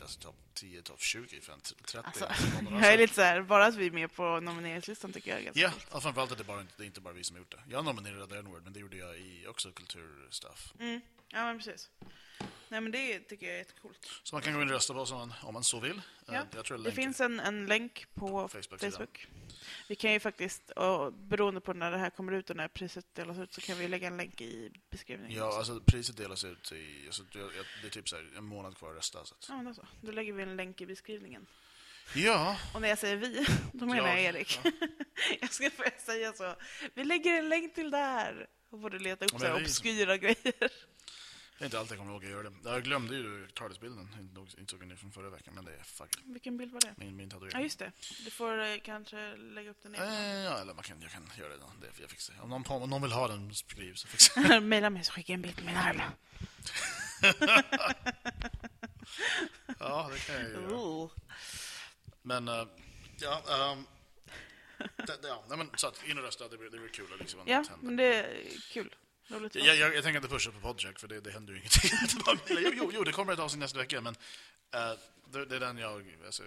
Speaker 3: alltså, top 10, topp 20, fan, t- 30.
Speaker 2: Alltså,
Speaker 3: någon av de här-
Speaker 2: Jag är lite så här, bara att vi är med på nomineringslistan tycker jag är ganska
Speaker 3: Ja,
Speaker 2: kul.
Speaker 3: ja, framförallt att det, bara, inte- det är inte bara vi som har gjort det. Jag nominerade en word men det gjorde jag i också kulturstuff.
Speaker 2: Mm. Ja, men precis. Nej, men det tycker jag är jättecoolt.
Speaker 3: Så man kan gå in och rösta på oss om man, om man så vill. Eh,
Speaker 2: Ja,
Speaker 3: jag tror
Speaker 2: Det
Speaker 3: länken-
Speaker 2: finns en, en länk på
Speaker 3: Facebook-sidan.
Speaker 2: Facebook. Vi kan ju faktiskt, och beroende på när det här kommer ut och när priset delas ut, så kan vi lägga en länk i beskrivningen.
Speaker 3: Ja,
Speaker 2: också.
Speaker 3: alltså priset delas ut i... Alltså, jag, jag, det är typ så här, en månad kvar att rösta. Så att.
Speaker 2: Ja, men då, så. då lägger vi en länk i beskrivningen.
Speaker 3: Ja,
Speaker 2: Och när jag säger vi, då menar jag
Speaker 3: Jag-
Speaker 2: Erik. jag ska börja säga så. Vi lägger en länk till där. Och borde leta upp
Speaker 3: Men
Speaker 2: så här
Speaker 3: det är ju-
Speaker 2: obskyra grejer.
Speaker 3: Det är inte alltid jag kommer ihåg att göra det. Jag glömde ju TARDIS-bilden. Inte- Inte såg ni från förra veckan, men det är fuck it.
Speaker 2: Vilken bild var det?
Speaker 3: min, min
Speaker 2: Ja,
Speaker 3: tatuering.
Speaker 2: just det. Du får eh, kanske lägga upp den igen.
Speaker 3: Eh, ja, eller man kan, jag kan göra det. då. det jag fixar. Om, någon, om någon vill ha den, skriv så fixar jag.
Speaker 2: Mejla mig så skickar jag en bild på min arm.
Speaker 3: Ja, det kan jag ju göra.
Speaker 2: Ooh.
Speaker 3: Men, eh, ja. ehm, det, det, ja nej, men, så att, in och rösta. Det blir, det blir kul. att Liksom, att
Speaker 2: Ja,
Speaker 3: hända.
Speaker 2: men det är kul. Roligt.
Speaker 3: Jag, jag, jag tänker inte pusha på Podjack, för det, det händer ju ingenting. Det bara- jo, jo, jo, det kommer ett avsnitt nästa vecka, men eh, det, det är den jag... Alltså,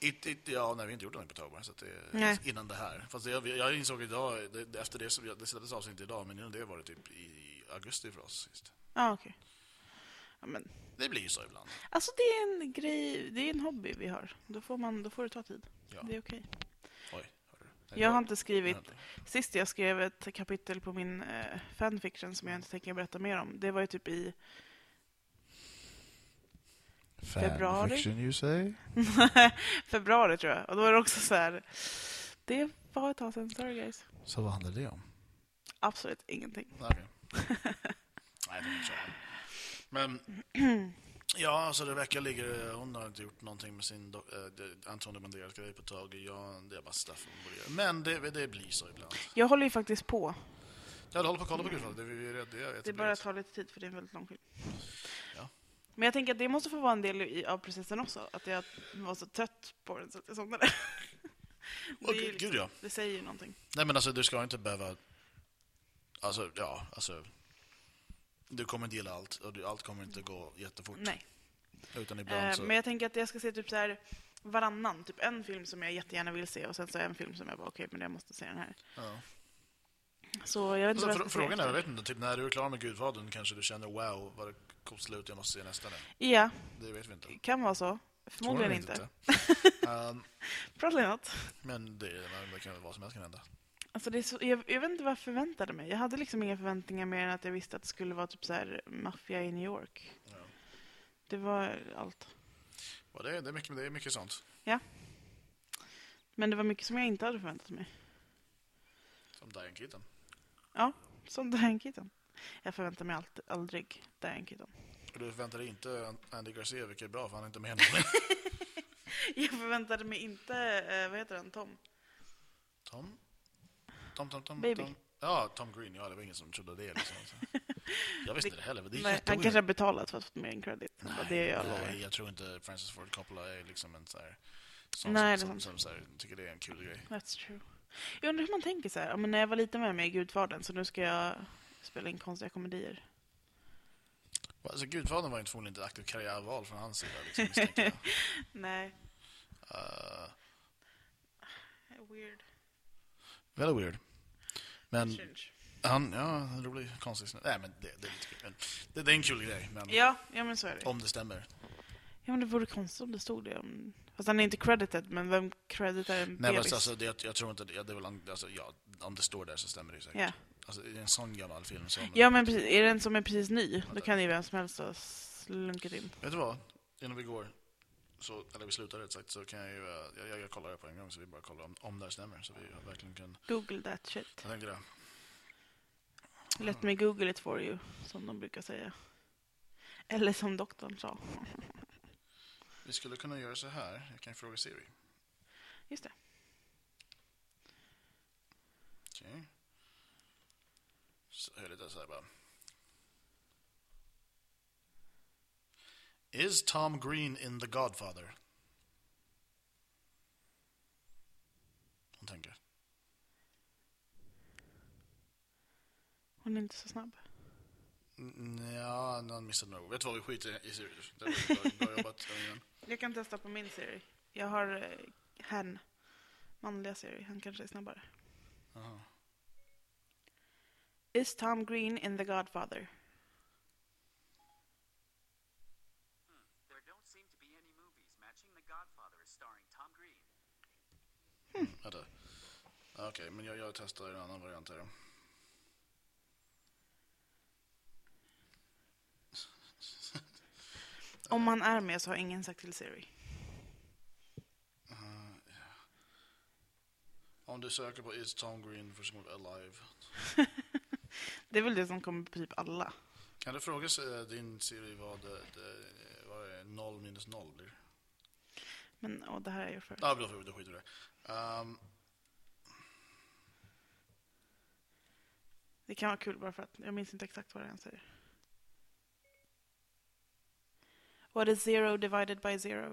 Speaker 3: it, it, ja, nej, vi har inte gjort något på ett tag bara, så att
Speaker 2: Nej.
Speaker 3: det, innan det här. Fast jag, jag insåg idag, det, det- efter det, så, det släpptes avsnitt idag, men innan det var det typ i augusti för oss. Sist.
Speaker 2: Ja, okej. Ja, men,
Speaker 3: Det blir ju så ibland.
Speaker 2: alltså det är en grej, det är en hobby vi har. Då får, man, då får det ta tid.
Speaker 3: Ja.
Speaker 2: Det är okej.
Speaker 3: Oj, hör du? Nej,
Speaker 2: Jag
Speaker 3: det
Speaker 2: har
Speaker 3: var-
Speaker 2: inte skrivit Sist jag skrev ett kapitel på min eh, fanfiction som jag inte tänker berätta mer om, det var ju typ i... Februari?
Speaker 3: Fanfiction, you say?
Speaker 2: februari tror jag. Och då var det också så här... Det var ett tag sedan, sorry guys.
Speaker 3: Så vad handlar det om?
Speaker 2: Absolut ingenting.
Speaker 3: Okej. Nej, det är inte så. Men, ja, alltså Rebecca ligger, eh, hon har inte gjort någonting med sin do- eh, det- Antonio Banderas grej på ett tag. Jag, det är bara stuff hon borde göra. Men det, det blir så ibland.
Speaker 2: Jag håller ju faktiskt på.
Speaker 3: Jag håller på att kolla på Gudfadern. Det, vi är rädd- det, är
Speaker 2: Det bara tar lite tid för det är en väldigt lång film.
Speaker 3: Ja.
Speaker 2: Men jag tänker att det måste få vara en del i, av processen också, att jag var så trött på den så att jag somnade.
Speaker 3: Åh,
Speaker 2: Det, är ju
Speaker 3: gud,
Speaker 2: liksom,
Speaker 3: gud, ja.
Speaker 2: det säger ju någonting.
Speaker 3: Nej, men alltså du ska inte behöva... Alltså, ja, alltså... Du kommer inte gilla allt och du, allt kommer inte gå jättefort.
Speaker 2: Nej.
Speaker 3: Utan ibland
Speaker 2: Eh,
Speaker 3: så...
Speaker 2: men jag tänker att jag ska se typ så här varannan, typ en film som jag jättegärna vill se och sen så en film som jag bara okej, men jag måste se den här.
Speaker 3: Ja.
Speaker 2: Så jag vet inte
Speaker 3: Alltså,
Speaker 2: vad
Speaker 3: fr-
Speaker 2: jag ska
Speaker 3: frågan är, jag
Speaker 2: se.
Speaker 3: vet inte, typ när du är klar med Gudfadern kanske du känner wow, vad det coolt slut, jag måste se nästa nu.
Speaker 2: Ja,
Speaker 3: Det vet vi inte.
Speaker 2: kan vara så. Förmodligen
Speaker 3: Tror jag
Speaker 2: inte.
Speaker 3: Ehm,
Speaker 2: Probably not.
Speaker 3: men det, det kan väl vad som helst kan hända.
Speaker 2: Alltså det är så, jag, jag vet inte vad jag förväntade mig. Jag hade liksom inga förväntningar mer än att jag visste att det skulle vara typ så här maffia i New York.
Speaker 3: Ja.
Speaker 2: Det var allt.
Speaker 3: Ja, det, är- det, är mycket, det är mycket sånt
Speaker 2: Men det var mycket som jag inte hade förväntat mig.
Speaker 3: som Diane Keaton.
Speaker 2: Som Diane Keaton. Jag förväntar mig allt, aldrig Diane Keaton.
Speaker 3: Och du förväntar dig inte An- Andy Garcia, vilket är bra för han är inte med någon.
Speaker 2: Jag förväntade mig inte, eh, vad heter han, Tom?
Speaker 3: Tom? Tom, Tom, Tom?
Speaker 2: Baby.
Speaker 3: Tom. Ja, Tom Green. Ja, det var ingen som trodde det. Liksom. Så- Jag visste inte det heller, men det är
Speaker 2: Nej, han kanske har
Speaker 3: jätteoerhört.
Speaker 2: betalat för att få med en credit. Det var det jag lovar.
Speaker 3: Nej, jag tror inte Francis Ford Coppola är liksom en så här... Sån
Speaker 2: Nej, det är
Speaker 3: som, som,
Speaker 2: sant.
Speaker 3: som, så här, tycker det är en kul grej.
Speaker 2: That's true. Jag undrar hur man tänker så här. Ja, men när jag var liten var jag med i Gudfadern så nu ska jag spela in konstiga komedier.
Speaker 3: Alltså, Gudfadern var ju förmodligen inte ett aktivt karriärval från hans sida, liksom, misstänker jag.
Speaker 2: Nej,
Speaker 3: Eh,
Speaker 2: weird.
Speaker 3: Väldigt weird. Men
Speaker 2: Strange.
Speaker 3: han, ja, en rolig, konstig snubbe. Nej, men det, det är lite kul. Men det, det är en kul grej, men
Speaker 2: Ja, ja men så är det.
Speaker 3: Mm. om det stämmer.
Speaker 2: Ja, men det vore konstigt om det stod det. Om... Fast han är inte credited, men vem creditar en
Speaker 3: Nej, men
Speaker 2: bebis?
Speaker 3: alltså, det, jag, jag tror inte, det, ja, det är väl, an- alltså, ja, om det står där så stämmer det ju säkert.
Speaker 2: Ja.
Speaker 3: Alltså, det är en sån gammal film som...
Speaker 2: ja, men precis. Är det en som är precis ny, då kan ju vem som helst ha slunkit in.
Speaker 3: Vet du vad? Innan vi går, så, eller vi slutar rätt sagt, så kan jag ju, eh, jag, jag, jag kollar det på en gång så vi bara kollar om, om det här stämmer. Så vi verkligen kan,
Speaker 2: Google that shit.
Speaker 3: jag tänker det.
Speaker 2: Let me google it for you, som de brukar säga. Eller som doktorn sa.
Speaker 3: Vi skulle kunna göra så här, jag kan ju fråga Siri.
Speaker 2: Just det.
Speaker 3: Okej. Så hör lite så här bara. Is Tom Green in The Godfather? Hon tänker.
Speaker 2: Hon är inte så snabb.
Speaker 3: Mm, Ja, någon missade nog. Vet du vad, vi skiter i Siri. Det var bra, bra jobbat. Örjan.
Speaker 2: Jag kan testa på min serie. Jag har eh, hen. Manliga serie. Han kanske är snabbare.
Speaker 3: Jaha.
Speaker 2: Is Tom Green in The Godfather?
Speaker 1: There don't seem to be any movies matching The Godfather starring Tom Green.
Speaker 3: Vänta. Okej, men jag, jag testar en annan variant här. då.
Speaker 2: Om han är med så har ingen sagt till Siri.
Speaker 3: Om du söker på Is Tom Green för School Alive.
Speaker 2: Det är väl det som kommer på typ alla.
Speaker 3: Kan du fråga sig, eh, din Siri vad, eh, det- vad är 0 minus 0 blir?
Speaker 2: Men åh, det här är ju för...
Speaker 3: Ja, ah, då, då skiter du i det. Ehm,
Speaker 2: Det kan vara kul bara för att jag minns inte exakt vad det ens säger. What is zero divided by zero?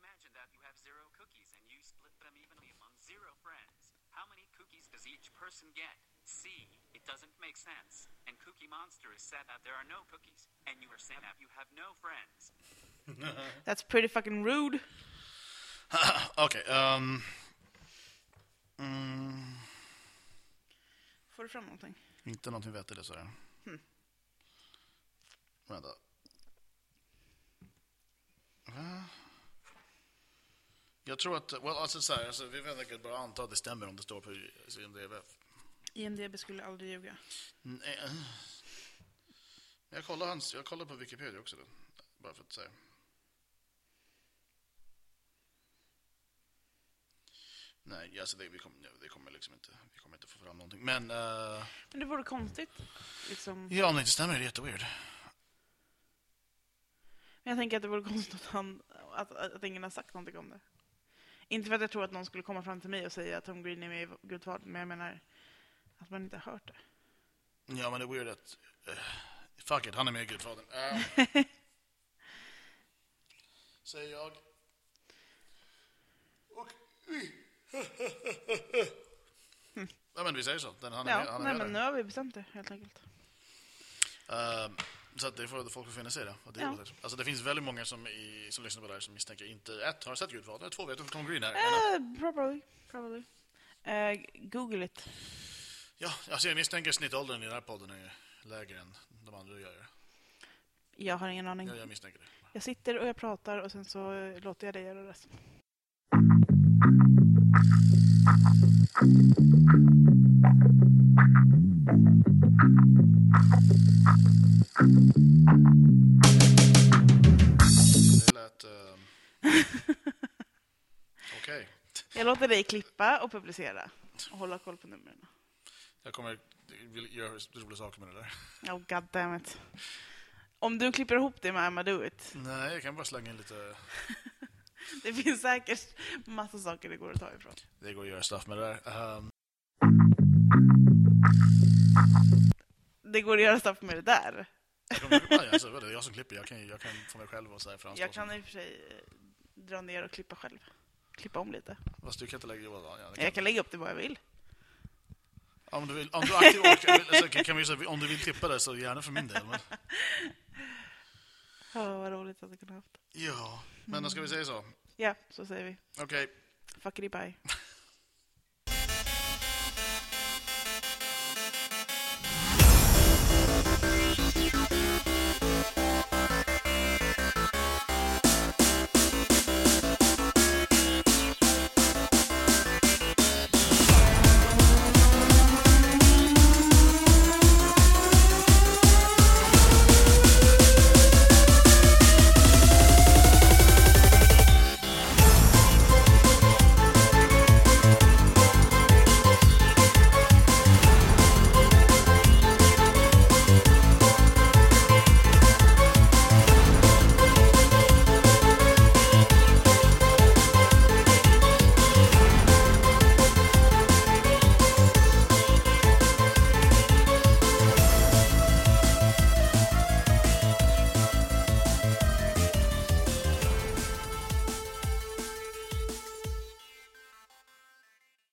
Speaker 1: Imagine that you have zero cookies and you split them evenly among zero friends. How many cookies does each person get? See, it doesn't make sense. And Cookie Monster is sad that there are no cookies, and you are sad that you have no friends.
Speaker 2: That's pretty fucking rude.
Speaker 3: Okej. ehm, mm,
Speaker 2: Får du fram någonting?
Speaker 3: inte någonting vettigt så här. Vänta. Va? Jag tror att, well, alltså så här, alltså, vi vet inte, bara anta att det stämmer om det står på IMDBF.
Speaker 2: IMDB skulle aldrig ljuga.
Speaker 3: Nej. eh. Jag kollar, hans, jag kollar på Wikipedia också. Då. Bara för att säga. Nej, alltså det, vi, kommer, det kommer liksom inte, vi kommer inte få fram någonting. Men eh,
Speaker 2: Men det vore konstigt. Liksom.
Speaker 3: ja, om det inte stämmer det är jätteweird.
Speaker 2: Men jag tänker att det vore konstigt att, han, att, att, att ingen har sagt någonting om det. Inte för att jag tror att någon skulle komma fram till mig och säga att Tom Green är med i Gudfadern, men jag menar att man inte har hört det.
Speaker 3: Ja, men det är weird att... eh, fuck it, han är med i Gudfadern. Eh, säger jag. Och... Nej, men vi säger så. Den, han är med,
Speaker 2: Ja,
Speaker 3: han är
Speaker 2: nej,
Speaker 3: med
Speaker 2: men
Speaker 3: där.
Speaker 2: nu har vi bestämt det helt enkelt.
Speaker 3: Ehm, så att det får folk får finna sig i det. Och det, är
Speaker 2: Ja.
Speaker 3: roligt. alltså, det finns väldigt många som, i, som lyssnar på det här som misstänker inte ett har sett Gudfadern, två vet varför Tom Green är. Men,
Speaker 2: Eh, probably. probably. Eh, Google it.
Speaker 3: ja, alltså, jag misstänker snittåldern i den här podden är lägre än de andra jag gör.
Speaker 2: Jag har ingen aning.
Speaker 3: Jag, jag misstänker det.
Speaker 2: Jag sitter och jag pratar och sen så eh, låter jag dig göra resten.
Speaker 3: Det lät... ehm, Okej.
Speaker 2: Jag låter dig klippa och publicera och hålla koll på numren.
Speaker 3: Jag kommer vill göra roliga saker med det där.
Speaker 2: Oh god damn it. Om du klipper ihop det med Emma Do It.
Speaker 3: Nej, jag kan bara slänga in lite...
Speaker 2: Det finns säkert massa saker det går att ta ifrån.
Speaker 3: Det går att göra stuff med det där. Ehm,
Speaker 2: Det går att göra stuff med det där.
Speaker 3: jag kommer, aj, alltså, det är jag som klipper. Jag kan, ju- jag kan få mig själv att så här framstå
Speaker 2: Jag
Speaker 3: som...
Speaker 2: kan i och för sig eh, dra ner och klippa själv. Klippa om lite.
Speaker 3: Fast du kan inte lägga... Ja, det kan
Speaker 2: Jag kan lägga upp det vad jag vill.
Speaker 3: Om du, vill, om du aktivt orkar, vill- så kan- kan vi säga, om du vill tippa det så gärna för min del. Men,
Speaker 2: Oh, vad roligt att du kunde haft.
Speaker 3: ja, men då ska vi säga så.
Speaker 2: Ja, så säger vi.
Speaker 3: Okej,
Speaker 2: Fuckity bye.